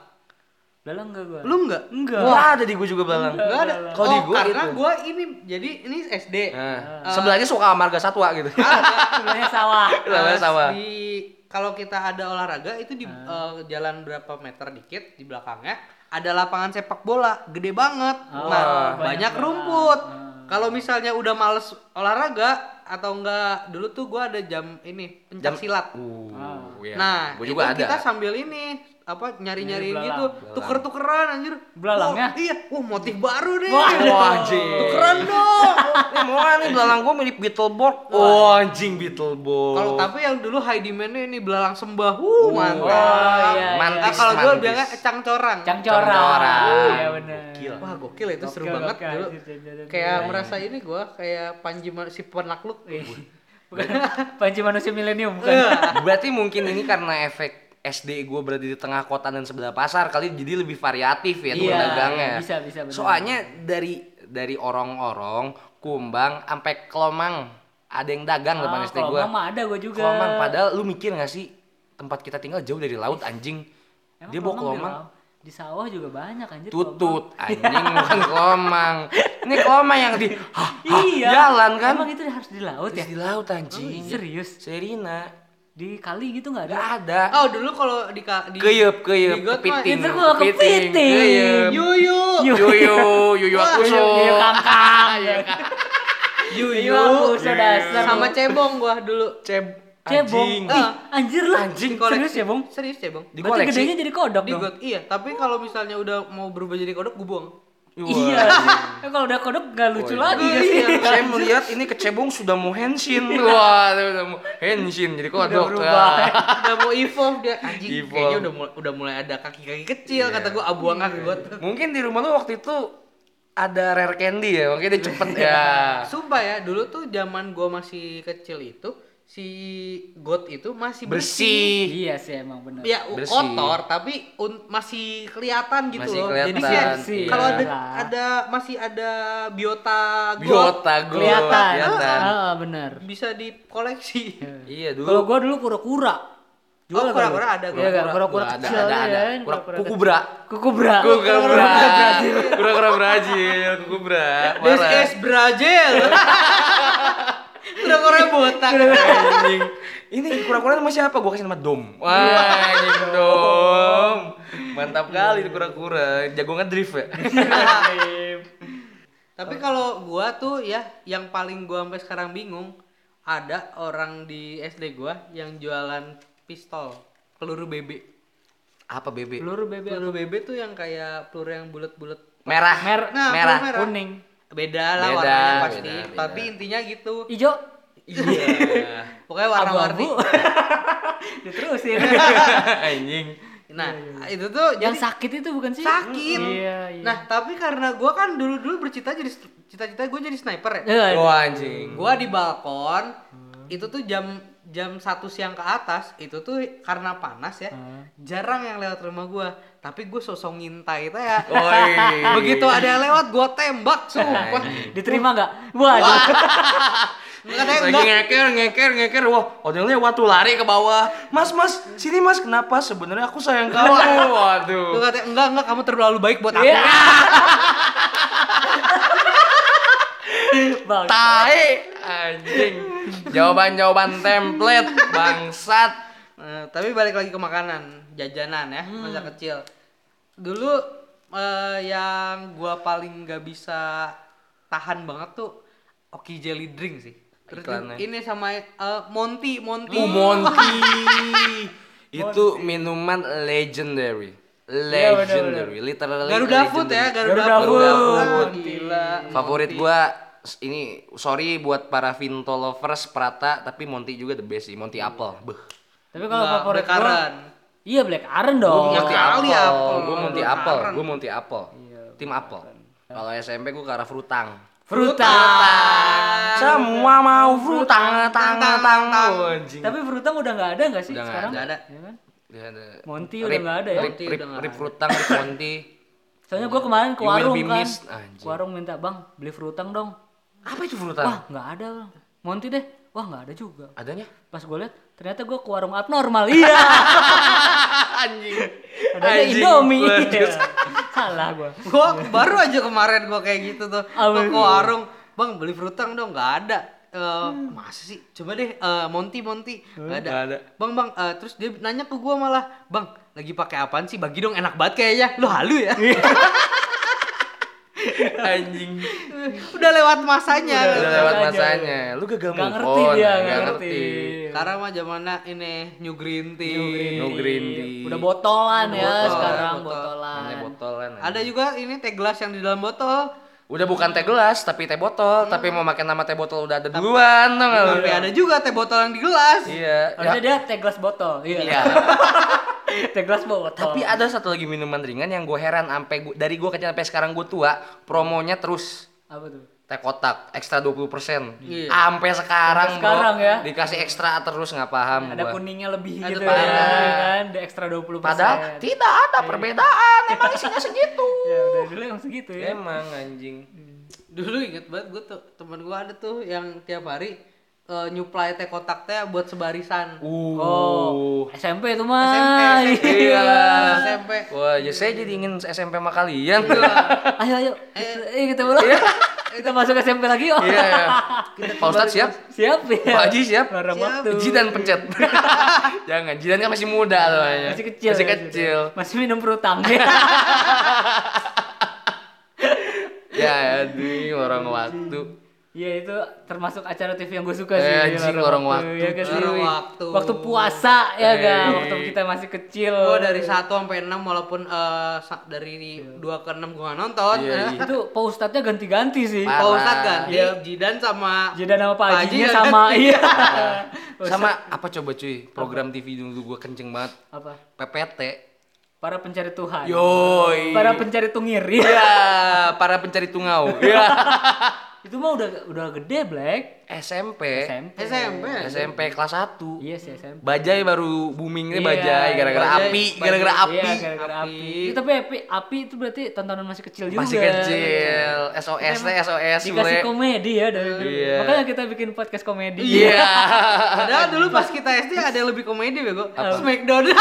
[SPEAKER 4] Lalu enggak gua
[SPEAKER 1] lu nggak
[SPEAKER 4] enggak
[SPEAKER 2] Wah, ada di gue juga balang.
[SPEAKER 1] Enggak ada.
[SPEAKER 2] Kalau di
[SPEAKER 1] oh,
[SPEAKER 2] gua
[SPEAKER 1] karena
[SPEAKER 2] gitu.
[SPEAKER 1] gua ini jadi ini SD.
[SPEAKER 2] Nah, sebelahnya suka marga satwa gitu.
[SPEAKER 4] sebelahnya sawah
[SPEAKER 2] Sebelahnya
[SPEAKER 1] Pas
[SPEAKER 2] sama.
[SPEAKER 1] Di kalau kita ada olahraga itu di eh, jalan berapa meter dikit di belakangnya ada lapangan sepak bola gede banget.
[SPEAKER 4] Oh,
[SPEAKER 1] nah,
[SPEAKER 4] banyak
[SPEAKER 1] banyak, rumput. Kalau misalnya udah males olahraga atau enggak dulu tuh gua ada jam ini pencak silat.
[SPEAKER 2] Uh, iya.
[SPEAKER 1] Nah,
[SPEAKER 2] gua juga
[SPEAKER 1] itu
[SPEAKER 2] ada.
[SPEAKER 1] kita sambil ini apa nyari-nyari
[SPEAKER 4] Nyari
[SPEAKER 1] gitu, tuker-tukeran anjir.
[SPEAKER 4] Belalangnya?
[SPEAKER 1] Wah, iya, wah motif baru deh.
[SPEAKER 2] Wah, anjing.
[SPEAKER 1] Tukeran dong.
[SPEAKER 2] Ini mau nih belalang gue mirip Beetleborg. Oh, anjing Beetleborg.
[SPEAKER 1] Kalau tapi yang dulu high demand-nya ini belalang sembah. Wuh, mantap.
[SPEAKER 4] Oh, iya, iya.
[SPEAKER 1] Nah,
[SPEAKER 2] Mantis,
[SPEAKER 1] kalau gue
[SPEAKER 2] mantis.
[SPEAKER 1] bilangnya cang corang.
[SPEAKER 4] cangcoran
[SPEAKER 2] Cangcoran.
[SPEAKER 4] iya benar
[SPEAKER 1] Wah, gokil itu seru
[SPEAKER 4] Gokil,
[SPEAKER 1] banget
[SPEAKER 4] gokil.
[SPEAKER 1] dulu.
[SPEAKER 4] Anjir, anjir, anjir.
[SPEAKER 1] Kayak merasa
[SPEAKER 4] Iya.
[SPEAKER 1] ini gue kayak panji ma- si penakluk.
[SPEAKER 4] bukan panci manusia milenium
[SPEAKER 2] Iya,
[SPEAKER 4] bukan
[SPEAKER 1] Eh,
[SPEAKER 2] Berarti mungkin ini karena efek SD gue berada di tengah kota dan sebelah pasar kali jadi lebih variatif ya tuh
[SPEAKER 4] Iya,
[SPEAKER 2] dagangnya.
[SPEAKER 4] iya, bisa, bisa, benar.
[SPEAKER 2] Soalnya dari dari orang-orang kumbang sampai kelomang ada yang dagang depan
[SPEAKER 4] Ah,
[SPEAKER 2] SD gue.
[SPEAKER 4] kelomang mah ada gua juga
[SPEAKER 2] Kelomang padahal lu mikir gak sih tempat kita tinggal jauh dari laut anjing.
[SPEAKER 4] Emang
[SPEAKER 2] Dia bawa
[SPEAKER 4] kelomang di
[SPEAKER 2] kelomang
[SPEAKER 4] laut? di sawah juga banyak anjir kelomang.
[SPEAKER 2] tutut anjing bukan kelomang. Ini kelomang yang di hah, hah,
[SPEAKER 4] iya
[SPEAKER 2] jalan kan.
[SPEAKER 4] emang itu harus di laut ya
[SPEAKER 2] Terus di Ah, laut anjing.
[SPEAKER 4] serius
[SPEAKER 2] Serina.
[SPEAKER 4] di kali gitu nggak ada
[SPEAKER 2] Gak ada.
[SPEAKER 1] oh, dulu kalau di ka- di
[SPEAKER 2] Keyep, keyep,
[SPEAKER 1] di got mah
[SPEAKER 2] kepiting,
[SPEAKER 4] itu gua kepiting.
[SPEAKER 2] keyep.
[SPEAKER 1] Yuyu.
[SPEAKER 2] Yuyu, yuyu aku so.
[SPEAKER 4] Iya, kangkang
[SPEAKER 1] Yuyu.
[SPEAKER 4] aku so dasar.
[SPEAKER 1] Sama cebong gua dulu.
[SPEAKER 2] Ceb,
[SPEAKER 4] cebong
[SPEAKER 2] anjing.
[SPEAKER 4] Ih, anjir lah
[SPEAKER 2] Anjing,
[SPEAKER 4] serius ya bong
[SPEAKER 1] Serius cebong?
[SPEAKER 2] Di
[SPEAKER 4] berarti
[SPEAKER 2] koleksi.
[SPEAKER 4] gedenya jadi kodok
[SPEAKER 1] Di
[SPEAKER 4] dong
[SPEAKER 1] got iya, tapi kalau misalnya udah mau berubah jadi kodok gue buang.
[SPEAKER 4] iya kalau udah kodok nggak lucu lagi ya,
[SPEAKER 1] Iya,
[SPEAKER 4] guys.
[SPEAKER 1] iya.
[SPEAKER 2] Saya melihat ini kecebong sudah mau henshin. Wah, dia udah mau henshin jadi kodok.
[SPEAKER 4] berubah.
[SPEAKER 2] Ah.
[SPEAKER 1] udah mau evolve dia anjing
[SPEAKER 2] Evolve. Iya.
[SPEAKER 1] kayaknya udah mulai, udah mulai ada kaki-kaki kecil kata gua abuang kaki gua tuh.
[SPEAKER 2] Mungkin di rumah lu waktu itu ada rare candy ya, mungkin dia cepet ya.
[SPEAKER 1] Sumpah ya, dulu tuh zaman gua masih kecil itu si got itu masih bersih.
[SPEAKER 2] Bersih.
[SPEAKER 4] iya sih emang bener
[SPEAKER 1] Ya u-
[SPEAKER 2] Bersih.
[SPEAKER 1] kotor tapi un- masih kelihatan gitu
[SPEAKER 2] Masih
[SPEAKER 1] loh. Jadi
[SPEAKER 2] kelihatan,
[SPEAKER 1] kayak
[SPEAKER 4] iya.
[SPEAKER 1] kalau ada
[SPEAKER 4] Lah.
[SPEAKER 1] ada masih ada biota got
[SPEAKER 2] Biota gue.
[SPEAKER 4] kelihatan ah bener
[SPEAKER 1] bisa dikoleksi.
[SPEAKER 2] Iya
[SPEAKER 4] kalau
[SPEAKER 2] dulu.
[SPEAKER 4] gua dulu kura-kura
[SPEAKER 1] Oh,
[SPEAKER 4] Jual nggak
[SPEAKER 1] kura-kura
[SPEAKER 4] lu?
[SPEAKER 1] ada,
[SPEAKER 4] Iya,
[SPEAKER 1] kura-kura.
[SPEAKER 4] nggak? kura-kura
[SPEAKER 2] Ada,
[SPEAKER 4] kecil
[SPEAKER 2] ada, ada.
[SPEAKER 4] ya kan?
[SPEAKER 2] Kura-
[SPEAKER 4] Kura-kura kecil.
[SPEAKER 2] Kukubra.
[SPEAKER 4] kukubra
[SPEAKER 2] Kukubra. Kura-kura Brazil. Kukubra.
[SPEAKER 1] This
[SPEAKER 2] Parah.
[SPEAKER 1] is Brazil. Kura-kura botak.
[SPEAKER 2] anjing. Ini kura-kura sama siapa? Gua kasih nama Dom. Wah, anjing Dom. Mantap kali itu kura-kura. Jago ngedrift ya.
[SPEAKER 1] Tapi kalau gua tuh ya yang paling gua sampai sekarang bingung ada orang di SD gua yang jualan pistol peluru BB.
[SPEAKER 2] Apa bebek?
[SPEAKER 4] peluru bebek
[SPEAKER 1] Peluru BB tuh yang kayak peluru yang bulat-bulat.
[SPEAKER 2] Merah.
[SPEAKER 4] mer
[SPEAKER 1] Nah,
[SPEAKER 2] merah.
[SPEAKER 1] peluru merah.
[SPEAKER 4] kuning
[SPEAKER 1] Beda lah
[SPEAKER 2] Beda,
[SPEAKER 1] warnanya pasti,
[SPEAKER 2] beda, beda.
[SPEAKER 1] tapi intinya gitu.
[SPEAKER 4] hijau
[SPEAKER 2] Iya.
[SPEAKER 1] Pokoknya warna-warni.
[SPEAKER 4] Abu-abu. Diterusin.
[SPEAKER 2] Anjing.
[SPEAKER 1] Nah, itu tuh
[SPEAKER 4] Iya, yang
[SPEAKER 1] jadi
[SPEAKER 4] sakit itu bukan sih?
[SPEAKER 1] sakit.
[SPEAKER 4] Iya, iya.
[SPEAKER 1] Nah, tapi karena gua kan dulu-dulu bercita jadi cita-cita gua jadi sniper ya.
[SPEAKER 4] Eh,
[SPEAKER 2] Wah anjing.
[SPEAKER 1] Gua di balkon itu tuh jam jam satu siang ke atas itu tuh karena panas ya jarang yang lewat rumah gua tapi gue sosok ngintai itu ya
[SPEAKER 2] Woi.
[SPEAKER 1] begitu ada yang lewat gua tembak sumpah
[SPEAKER 4] Diterima nggak? Waduh.
[SPEAKER 1] nggak ada yang
[SPEAKER 2] Lagi
[SPEAKER 1] nggak
[SPEAKER 2] ngeker, ngeker, ngeker. Wah, odengnya waktu lari ke bawah. Mas, mas, sini mas, kenapa? Sebenarnya aku sayang kamu. Waduh.
[SPEAKER 1] Gua kata enggak enggak kamu terlalu baik buat aku
[SPEAKER 4] Iya.
[SPEAKER 2] Iya.
[SPEAKER 4] Bang.
[SPEAKER 2] Tai anjing. Jawaban-jawaban template bangsat.
[SPEAKER 1] Eh, tapi balik lagi ke makanan jajanan ya masa kecil dulu eh, yang gua paling nggak bisa tahan banget tuh Oki Jelly Drink sih Terus
[SPEAKER 2] Iklannya.
[SPEAKER 1] ini sama eh, Monty Monty
[SPEAKER 2] Uh, Monty. Itu minuman legendary. Legendary, literally.
[SPEAKER 1] Garuda Food ya
[SPEAKER 2] legendary.
[SPEAKER 1] Garuda,
[SPEAKER 4] Garuda
[SPEAKER 1] Food,
[SPEAKER 2] Food.
[SPEAKER 1] Ah, gila
[SPEAKER 2] Favorit gua s- ini sorry buat para Vinto lovers Prata tapi Monty juga the best sih Monty Apple. Beh.
[SPEAKER 4] Tapi kalau
[SPEAKER 1] Nggak,
[SPEAKER 4] favorit gua-
[SPEAKER 1] bekaran.
[SPEAKER 4] Iya Black Aren dong.
[SPEAKER 1] Monty Apple.
[SPEAKER 2] Gue Monty
[SPEAKER 1] Apple.
[SPEAKER 2] Apple, gue Monty Apple. Tim Apple. Kalau SMP gue ke arah frutang.
[SPEAKER 4] Fruta.
[SPEAKER 2] Semua mau frutang, tang, tang, tang. Anjing.
[SPEAKER 4] Tapi Fruta udah nggak ada nggak sih
[SPEAKER 2] Udah nggak
[SPEAKER 4] sekarang?
[SPEAKER 1] nggak ada.
[SPEAKER 4] Iya kan?
[SPEAKER 2] Ya, ada-
[SPEAKER 4] Monty
[SPEAKER 2] Rip-
[SPEAKER 4] udah nggak ada ya.
[SPEAKER 2] Rip,
[SPEAKER 1] Monty
[SPEAKER 2] rip,
[SPEAKER 1] udah nggak
[SPEAKER 2] rip frutang, rip Monty.
[SPEAKER 4] Soalnya gua kemarin ke
[SPEAKER 2] You will
[SPEAKER 4] warung
[SPEAKER 2] be
[SPEAKER 4] kan.
[SPEAKER 2] missed, anjing.
[SPEAKER 4] Ke warung minta bang beli frutang dong.
[SPEAKER 2] Apa itu
[SPEAKER 4] Wah
[SPEAKER 2] frutang?
[SPEAKER 4] nggak ada bang. Monty deh. Wah nggak ada juga.
[SPEAKER 2] Adanya?
[SPEAKER 4] Pas gue lihat ternyata gua ke warung abnormal. Iya.
[SPEAKER 2] Anjing.
[SPEAKER 4] Ada
[SPEAKER 2] Anjing,
[SPEAKER 4] Indomie.
[SPEAKER 2] gua-
[SPEAKER 4] Iya. Salah gua.
[SPEAKER 1] gua baru aja kemarin gua kayak gitu tuh
[SPEAKER 4] Apa
[SPEAKER 1] gua ke
[SPEAKER 4] itu?
[SPEAKER 1] warung bang beli frutang dong nggak ada Eh, masa sih coba deh eh, Monty Monty nggak ada.
[SPEAKER 2] nggak ada.
[SPEAKER 1] bang bang eh, terus dia nanya ke gua malah bang lagi pakai apaan sih bagi dong enak banget kayaknya lu halu ya
[SPEAKER 2] Anjing.
[SPEAKER 1] udah lewat masanya
[SPEAKER 2] Udah lewat
[SPEAKER 4] Makanya.
[SPEAKER 2] masanya. Lu gagal
[SPEAKER 4] Gak
[SPEAKER 2] move
[SPEAKER 4] ngerti
[SPEAKER 2] on,
[SPEAKER 4] dia,
[SPEAKER 2] nggak
[SPEAKER 4] gak ngerti.
[SPEAKER 1] karena mah zamannya ini new green tea
[SPEAKER 2] No green tea.
[SPEAKER 4] Udah botolan ya
[SPEAKER 1] Botol,
[SPEAKER 4] sekarang
[SPEAKER 1] botol.
[SPEAKER 4] botolan.
[SPEAKER 2] Hanya botolan. anjing.
[SPEAKER 1] ada juga ini teh gelas yang di dalam botol
[SPEAKER 2] Udah bukan teh gelas, tapi teh botol, tapi mau pakai nama teh botol udah ada duluan, tau nggak lu?
[SPEAKER 1] tapi ada juga teh botol yang di gelas
[SPEAKER 2] Oh, Iya. Ya,
[SPEAKER 4] Harusnya dia teh gelas botol.
[SPEAKER 2] Iya.
[SPEAKER 4] Iya. teh gelas botol.
[SPEAKER 2] Tapi ada satu lagi minuman ringan yang gue heran sampai gua- dari gue kecil sampai sekarang gue tua, promonya terus
[SPEAKER 4] apa tuh?
[SPEAKER 2] teh kotak ekstra 20%.
[SPEAKER 1] Iya.
[SPEAKER 2] Sampai sekarang,
[SPEAKER 4] Sampai sekarang
[SPEAKER 2] Bro.
[SPEAKER 4] ya.
[SPEAKER 2] Dikasih ekstra terus nggak paham
[SPEAKER 4] Ada
[SPEAKER 2] gua.
[SPEAKER 4] kuningnya lebih
[SPEAKER 1] Ada
[SPEAKER 4] gitu
[SPEAKER 1] parah.
[SPEAKER 4] ya, kan, ada ekstra 20%.
[SPEAKER 2] Padahal tidak ada perbedaan, emang isinya segitu.
[SPEAKER 4] ya udah dulu emang segitu ya.
[SPEAKER 2] Emang anjing.
[SPEAKER 1] dulu inget banget gue tuh temen gue ada tuh yang tiap hari eh, nyuplai teh kotak teh buat sebarisan
[SPEAKER 2] Uh.
[SPEAKER 4] Oh, SMP itu mah.
[SPEAKER 1] SMP, SMP.
[SPEAKER 4] Iya.
[SPEAKER 1] SMP
[SPEAKER 2] Wah, ya saya jadi ingin SMP sama kalian.
[SPEAKER 4] Ayo ayo. Eh, kita ulang. kita masuk SMP lagi yuk.
[SPEAKER 2] Iya. Pak Ustadz siap?
[SPEAKER 4] Siap ya.
[SPEAKER 2] Pak Haji siap?
[SPEAKER 4] Barang
[SPEAKER 1] Siap.
[SPEAKER 4] waktu.
[SPEAKER 2] Jidan pencet. Jangan, Jidan kan masih muda soalnya.
[SPEAKER 4] Masih kecil.
[SPEAKER 2] Masih
[SPEAKER 4] ya,
[SPEAKER 2] kecil.
[SPEAKER 4] Masih minum perutang.
[SPEAKER 2] Ya, aduh, orang waktu.
[SPEAKER 4] Iya itu termasuk acara TV yang gue suka
[SPEAKER 2] Eh,
[SPEAKER 4] sih.
[SPEAKER 2] anjing, lorong waktu.
[SPEAKER 4] ya kan sih?
[SPEAKER 1] Lorong waktu.
[SPEAKER 4] Waktu puasa ya kan,
[SPEAKER 2] Eh.
[SPEAKER 4] waktu kita masih kecil.
[SPEAKER 1] gue dari 1 sampai 6 walaupun eh, sa- dari 2 ke 6 gue gak nonton
[SPEAKER 2] Iya,
[SPEAKER 1] yeah,
[SPEAKER 2] iya.
[SPEAKER 4] itu Pak Ustadznya ganti-ganti sih.
[SPEAKER 2] Pak-
[SPEAKER 1] Pak Ustadz
[SPEAKER 2] Parah.
[SPEAKER 1] ganti,
[SPEAKER 4] Iya.
[SPEAKER 1] Jidan sama
[SPEAKER 4] Jeda nama Pak Hajinya
[SPEAKER 1] Haji
[SPEAKER 4] sama
[SPEAKER 1] ganti.
[SPEAKER 4] iya.
[SPEAKER 2] Sama apa coba cuy? Program TV dulu gua kenceng banget.
[SPEAKER 4] Apa?
[SPEAKER 2] PPT.
[SPEAKER 4] Para pencari Tuhan.
[SPEAKER 2] Yoi.
[SPEAKER 4] Para pencari tungir. Iya.
[SPEAKER 2] Iya, para pencari tungau. Iya.
[SPEAKER 4] itu mah udah udah gede Black.
[SPEAKER 2] SMP.
[SPEAKER 4] SMP.
[SPEAKER 1] SMP
[SPEAKER 2] SMP kelas 1.
[SPEAKER 4] Iya sih SMP.
[SPEAKER 2] Bajai baru boomingnya
[SPEAKER 4] Iya,
[SPEAKER 2] bajai gara-gara
[SPEAKER 1] Bajai,
[SPEAKER 2] api,
[SPEAKER 1] Bajai.
[SPEAKER 2] gara-gara api.
[SPEAKER 4] Iya, gara-gara api. Itu tapi api, api itu berarti tontonan masih kecil juga.
[SPEAKER 2] Masih kecil, SOS teh SOS
[SPEAKER 4] Dikasih
[SPEAKER 2] Sule.
[SPEAKER 4] komedi ya dari dulu.
[SPEAKER 2] Iya.
[SPEAKER 4] Makanya kita bikin podcast komedi.
[SPEAKER 2] Iya.
[SPEAKER 1] Padahal dulu pas kita SD
[SPEAKER 4] Iya.
[SPEAKER 1] ada yang lebih komedi bego Smackdown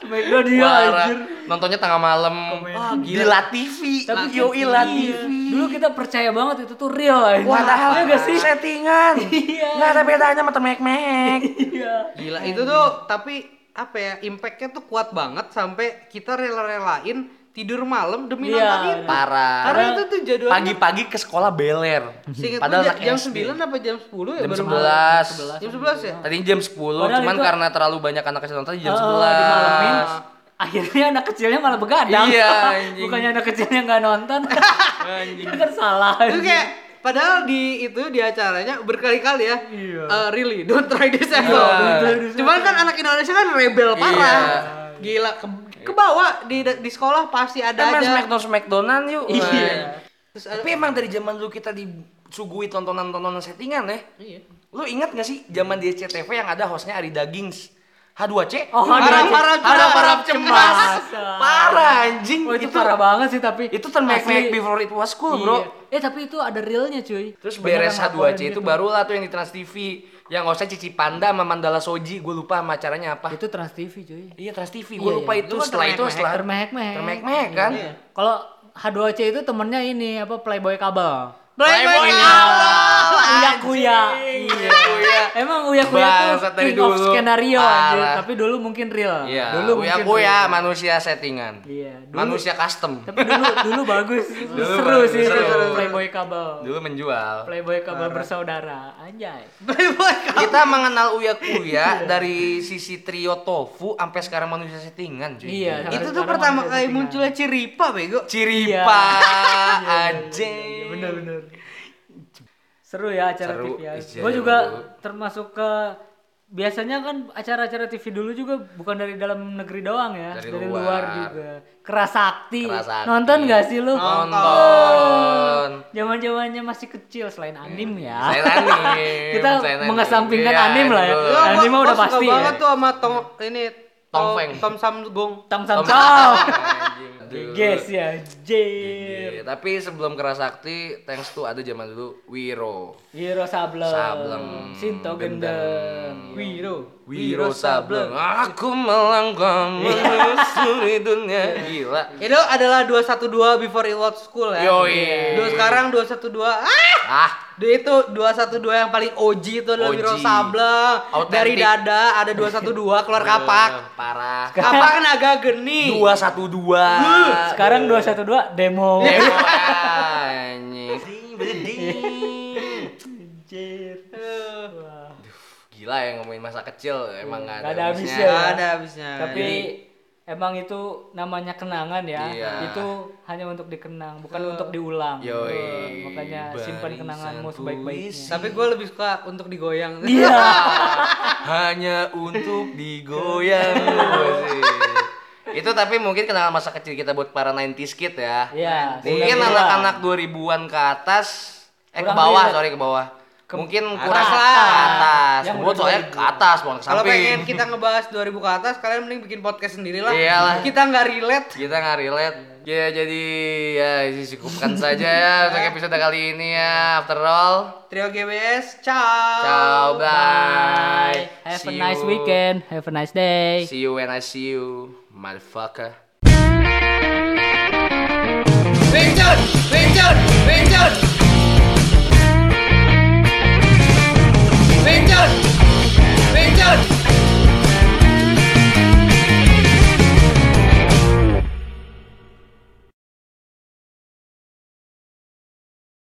[SPEAKER 4] Smackdown dia Iya,
[SPEAKER 2] Parah.
[SPEAKER 4] anjir.
[SPEAKER 2] Nontonnya tengah malam.
[SPEAKER 1] Wah,
[SPEAKER 2] Di La TV.
[SPEAKER 4] Tapi
[SPEAKER 2] Yoi
[SPEAKER 4] iya.
[SPEAKER 2] La TV.
[SPEAKER 4] Dulu kita percaya banget itu tuh real anjir.
[SPEAKER 2] Padahal
[SPEAKER 4] Iya nggak sih?
[SPEAKER 2] settingan.
[SPEAKER 4] Iya.
[SPEAKER 2] Nggak ada bedanya sama temek-mek.
[SPEAKER 4] Iya.
[SPEAKER 1] Gila itu tuh tapi apa ya impactnya tuh kuat banget sampai kita rela-relain tidur malam demi
[SPEAKER 4] Iya,
[SPEAKER 1] nonton itu
[SPEAKER 2] Parah.
[SPEAKER 1] karena itu tuh jadwalnya
[SPEAKER 2] Pagi-pagi ke sekolah beler.
[SPEAKER 1] Seingat
[SPEAKER 2] Padahal
[SPEAKER 1] gua
[SPEAKER 2] anak
[SPEAKER 1] jam
[SPEAKER 2] SD.
[SPEAKER 1] 9 apa jam 10 ya
[SPEAKER 2] Jam
[SPEAKER 1] baru malam.
[SPEAKER 2] 11.
[SPEAKER 1] Jam 11 ya?
[SPEAKER 2] Tadinya jam 10,
[SPEAKER 4] Padahal
[SPEAKER 2] cuman
[SPEAKER 4] itu-
[SPEAKER 2] karena terlalu banyak anak kecil nonton jadi jam
[SPEAKER 4] Oh, dimalamin.
[SPEAKER 2] 11.
[SPEAKER 4] Akhirnya anak kecilnya malah begadang.
[SPEAKER 2] Ah. Iya, anjing.
[SPEAKER 4] Bukannya anak kecilnya nggak nonton. Itu kan salah.
[SPEAKER 1] Itu
[SPEAKER 4] anjing.
[SPEAKER 1] kayak Padahal di itu di acaranya berkali-kali ya.
[SPEAKER 4] Iya.
[SPEAKER 1] eh, really, don't try this at all.
[SPEAKER 2] Iya. Don't try
[SPEAKER 4] this at
[SPEAKER 1] Cuman kan anak Indonesia kan rebel
[SPEAKER 2] Iya.
[SPEAKER 1] parah. Gila ke kebawa di di sekolah pasti ada
[SPEAKER 2] Kita main
[SPEAKER 1] aja.
[SPEAKER 2] Smackdown Smackdownan yuk.
[SPEAKER 1] Iya. Terus ada
[SPEAKER 2] Tapi emang dari zaman dulu kita disuguhi tontonan-tontonan settingan ya.
[SPEAKER 1] Iya.
[SPEAKER 2] Lu ingat gak sih zaman di SCTV yang ada hostnya Ari Dagings? H2C?
[SPEAKER 4] Oh, H2C.
[SPEAKER 2] harap-harap
[SPEAKER 1] Harap-harap
[SPEAKER 2] harap cemas.
[SPEAKER 4] cemas.
[SPEAKER 2] Parah anjing.
[SPEAKER 4] Wah, Oh, itu, parah banget sih tapi.
[SPEAKER 2] Itu termek
[SPEAKER 4] Asli.
[SPEAKER 2] before it was cool,
[SPEAKER 4] Iya.
[SPEAKER 2] Bro.
[SPEAKER 4] Eh tapi itu ada realnya cuy.
[SPEAKER 2] Terus
[SPEAKER 4] Banyak
[SPEAKER 2] beres
[SPEAKER 4] yang laporin
[SPEAKER 2] H2C itu
[SPEAKER 4] gitu.
[SPEAKER 2] barulah tuh yang di Trans TV. Yang hostnya Cici Panda sama Mandala Soji, gue lupa sama acaranya apa.
[SPEAKER 4] Itu Trans TV cuy.
[SPEAKER 2] Iya Trans TV,
[SPEAKER 4] Iya,
[SPEAKER 2] gue lupa
[SPEAKER 4] iya.
[SPEAKER 2] itu
[SPEAKER 1] Itu kan
[SPEAKER 2] setelah itu
[SPEAKER 1] termek-mek,
[SPEAKER 2] setelah
[SPEAKER 4] Termehek-mehek.
[SPEAKER 2] termek-mek kan.
[SPEAKER 1] Iya.
[SPEAKER 4] Kalau H2C itu temennya ini apa Playboy Kabel.
[SPEAKER 1] Playboy Kabel.
[SPEAKER 4] Uya Kuya.
[SPEAKER 2] Anjing.
[SPEAKER 4] Iya. Emang Uya Kuya tuh
[SPEAKER 2] Bangsat dari
[SPEAKER 4] king of
[SPEAKER 2] dulu.
[SPEAKER 4] skenario anjir.
[SPEAKER 2] Parah.
[SPEAKER 4] Tapi dulu mungkin real.
[SPEAKER 2] Iya,
[SPEAKER 4] Dulu
[SPEAKER 2] Uya
[SPEAKER 4] mungkin
[SPEAKER 2] Kuya,
[SPEAKER 4] real.
[SPEAKER 2] manusia settingan.
[SPEAKER 4] Iya, dulu. Iya.
[SPEAKER 2] Manusia custom.
[SPEAKER 4] Tapi dulu dulu bagus. seru
[SPEAKER 2] bagus,
[SPEAKER 4] sih itu
[SPEAKER 2] seru.
[SPEAKER 4] Playboy Kabel.
[SPEAKER 2] Dulu menjual.
[SPEAKER 4] Playboy Kabel bersaudara. Anjay.
[SPEAKER 1] Playboy Kabel.
[SPEAKER 2] Kita mengenal Uya
[SPEAKER 4] Iya.
[SPEAKER 2] Kuya dari sisi trio tofu sampai sekarang manusia settingan, cuy.
[SPEAKER 4] Iya, sampai
[SPEAKER 1] Itu tuh
[SPEAKER 4] sekarang
[SPEAKER 1] pertama
[SPEAKER 4] masih
[SPEAKER 1] kali
[SPEAKER 4] settingan.
[SPEAKER 1] munculnya Ciripa bego.
[SPEAKER 2] Ciripa
[SPEAKER 4] Iya,
[SPEAKER 2] anjing.
[SPEAKER 4] Bener bener. Seru ya acara
[SPEAKER 2] Seru,
[SPEAKER 4] TV ya.
[SPEAKER 2] iya,
[SPEAKER 4] Gue
[SPEAKER 2] iya,
[SPEAKER 4] juga
[SPEAKER 2] dulu.
[SPEAKER 4] termasuk ke biasanya kan acara-acara TV dulu juga bukan dari dalam negeri doang ya,
[SPEAKER 2] Dari
[SPEAKER 4] dari,
[SPEAKER 2] luar.
[SPEAKER 4] luar. juga. Kerasakti.
[SPEAKER 2] Kerasakti.
[SPEAKER 4] Nonton gak sih lu?
[SPEAKER 2] Nonton.
[SPEAKER 4] Zaman-zamannya masih kecil selain anim ya.
[SPEAKER 2] Hmm, Selain anim,
[SPEAKER 4] Kita
[SPEAKER 2] selain anim.
[SPEAKER 4] mengesampingkan
[SPEAKER 2] Iya,
[SPEAKER 4] anim lah ya.
[SPEAKER 2] betul.
[SPEAKER 1] Gua-
[SPEAKER 4] Anim mah
[SPEAKER 1] gua
[SPEAKER 4] udah
[SPEAKER 1] suka
[SPEAKER 4] pasti.
[SPEAKER 1] banget
[SPEAKER 4] Ya.
[SPEAKER 1] tuh sama Tom ini
[SPEAKER 2] Tom
[SPEAKER 1] Tom
[SPEAKER 2] Feng.
[SPEAKER 1] Tom Samgung.
[SPEAKER 4] Tong sam
[SPEAKER 2] Tom-
[SPEAKER 4] Sam.
[SPEAKER 2] Anjing. Aduh.
[SPEAKER 4] Guys ya, Jir.
[SPEAKER 2] Iya, tapi sebelum kerasakti, thanks to ada zaman dulu Wiro.
[SPEAKER 4] Hero Sableng,
[SPEAKER 2] Sableng.
[SPEAKER 4] Sinto Gendeng, Wiro, Iya.
[SPEAKER 2] Wiro Sableng, aku melanggang menelusuri dunia. Gila.
[SPEAKER 1] Itu adalah 212 before it was cool ya.
[SPEAKER 2] Yoi.
[SPEAKER 1] Dua sekarang 212. Ah!
[SPEAKER 2] Ah,
[SPEAKER 1] Dia itu 212 yang paling OG itu adalah
[SPEAKER 2] OG.
[SPEAKER 1] Wiro Sableng.
[SPEAKER 2] Autentik.
[SPEAKER 1] Dari dada ada 212 keluar kapak.
[SPEAKER 2] parah.
[SPEAKER 1] Kapak kan agak geni.
[SPEAKER 2] Dua satu dua.
[SPEAKER 4] Sekarang 212 demo.
[SPEAKER 2] Demo anjing.
[SPEAKER 4] Anjir. Wah.
[SPEAKER 2] Gila ya ngomongin masa kecil emang gak ada,
[SPEAKER 4] Iya, Nggak ada
[SPEAKER 2] habisnya.
[SPEAKER 4] habisnya.
[SPEAKER 1] Gak Iya, ada habisnya.
[SPEAKER 2] Nah,
[SPEAKER 4] Tapi emang itu namanya kenangan ya.
[SPEAKER 2] Iya.
[SPEAKER 4] Itu hanya untuk dikenang, bukan untuk diulang.
[SPEAKER 2] Yoi.
[SPEAKER 4] Betul. Makanya simpan
[SPEAKER 2] Barisan
[SPEAKER 4] kenanganmu sebaik-baiknya.
[SPEAKER 1] tapi gue lebih suka untuk digoyang.
[SPEAKER 4] Iya.
[SPEAKER 2] Hanya untuk digoyang. Asik. Itu tapi mungkin kenangan masa kecil kita buat para 90s kid ya.
[SPEAKER 4] Iya.
[SPEAKER 2] Mungkin
[SPEAKER 4] sembilan
[SPEAKER 2] anak-anak 2000-an ke atas eh ke
[SPEAKER 4] Kurang
[SPEAKER 2] bawah,
[SPEAKER 4] relate.
[SPEAKER 2] sorry ke bawah. Mungkin
[SPEAKER 1] atas
[SPEAKER 2] kurang ke
[SPEAKER 1] lah.
[SPEAKER 2] atas.
[SPEAKER 4] Yang
[SPEAKER 2] Gua
[SPEAKER 4] udah
[SPEAKER 2] soalnya ke atas, bukan ke
[SPEAKER 1] Kalau
[SPEAKER 2] samping.
[SPEAKER 1] pengen kita ngebahas 2000 ke atas, kalian mending bikin podcast sendirilah.
[SPEAKER 2] Iyalah.
[SPEAKER 1] Kita nggak relate.
[SPEAKER 2] kita nggak relate ya jadi ya cukupkan saja ya untuk episode kali ini ya after all
[SPEAKER 1] Trio GBS,
[SPEAKER 2] ciao bye
[SPEAKER 4] Bye. Oh, Have a
[SPEAKER 2] See
[SPEAKER 4] nice
[SPEAKER 2] you.
[SPEAKER 4] weekend. Have a nice day.
[SPEAKER 2] see you when I see you motherfucker
[SPEAKER 3] Vincent! Vincent! Vincent!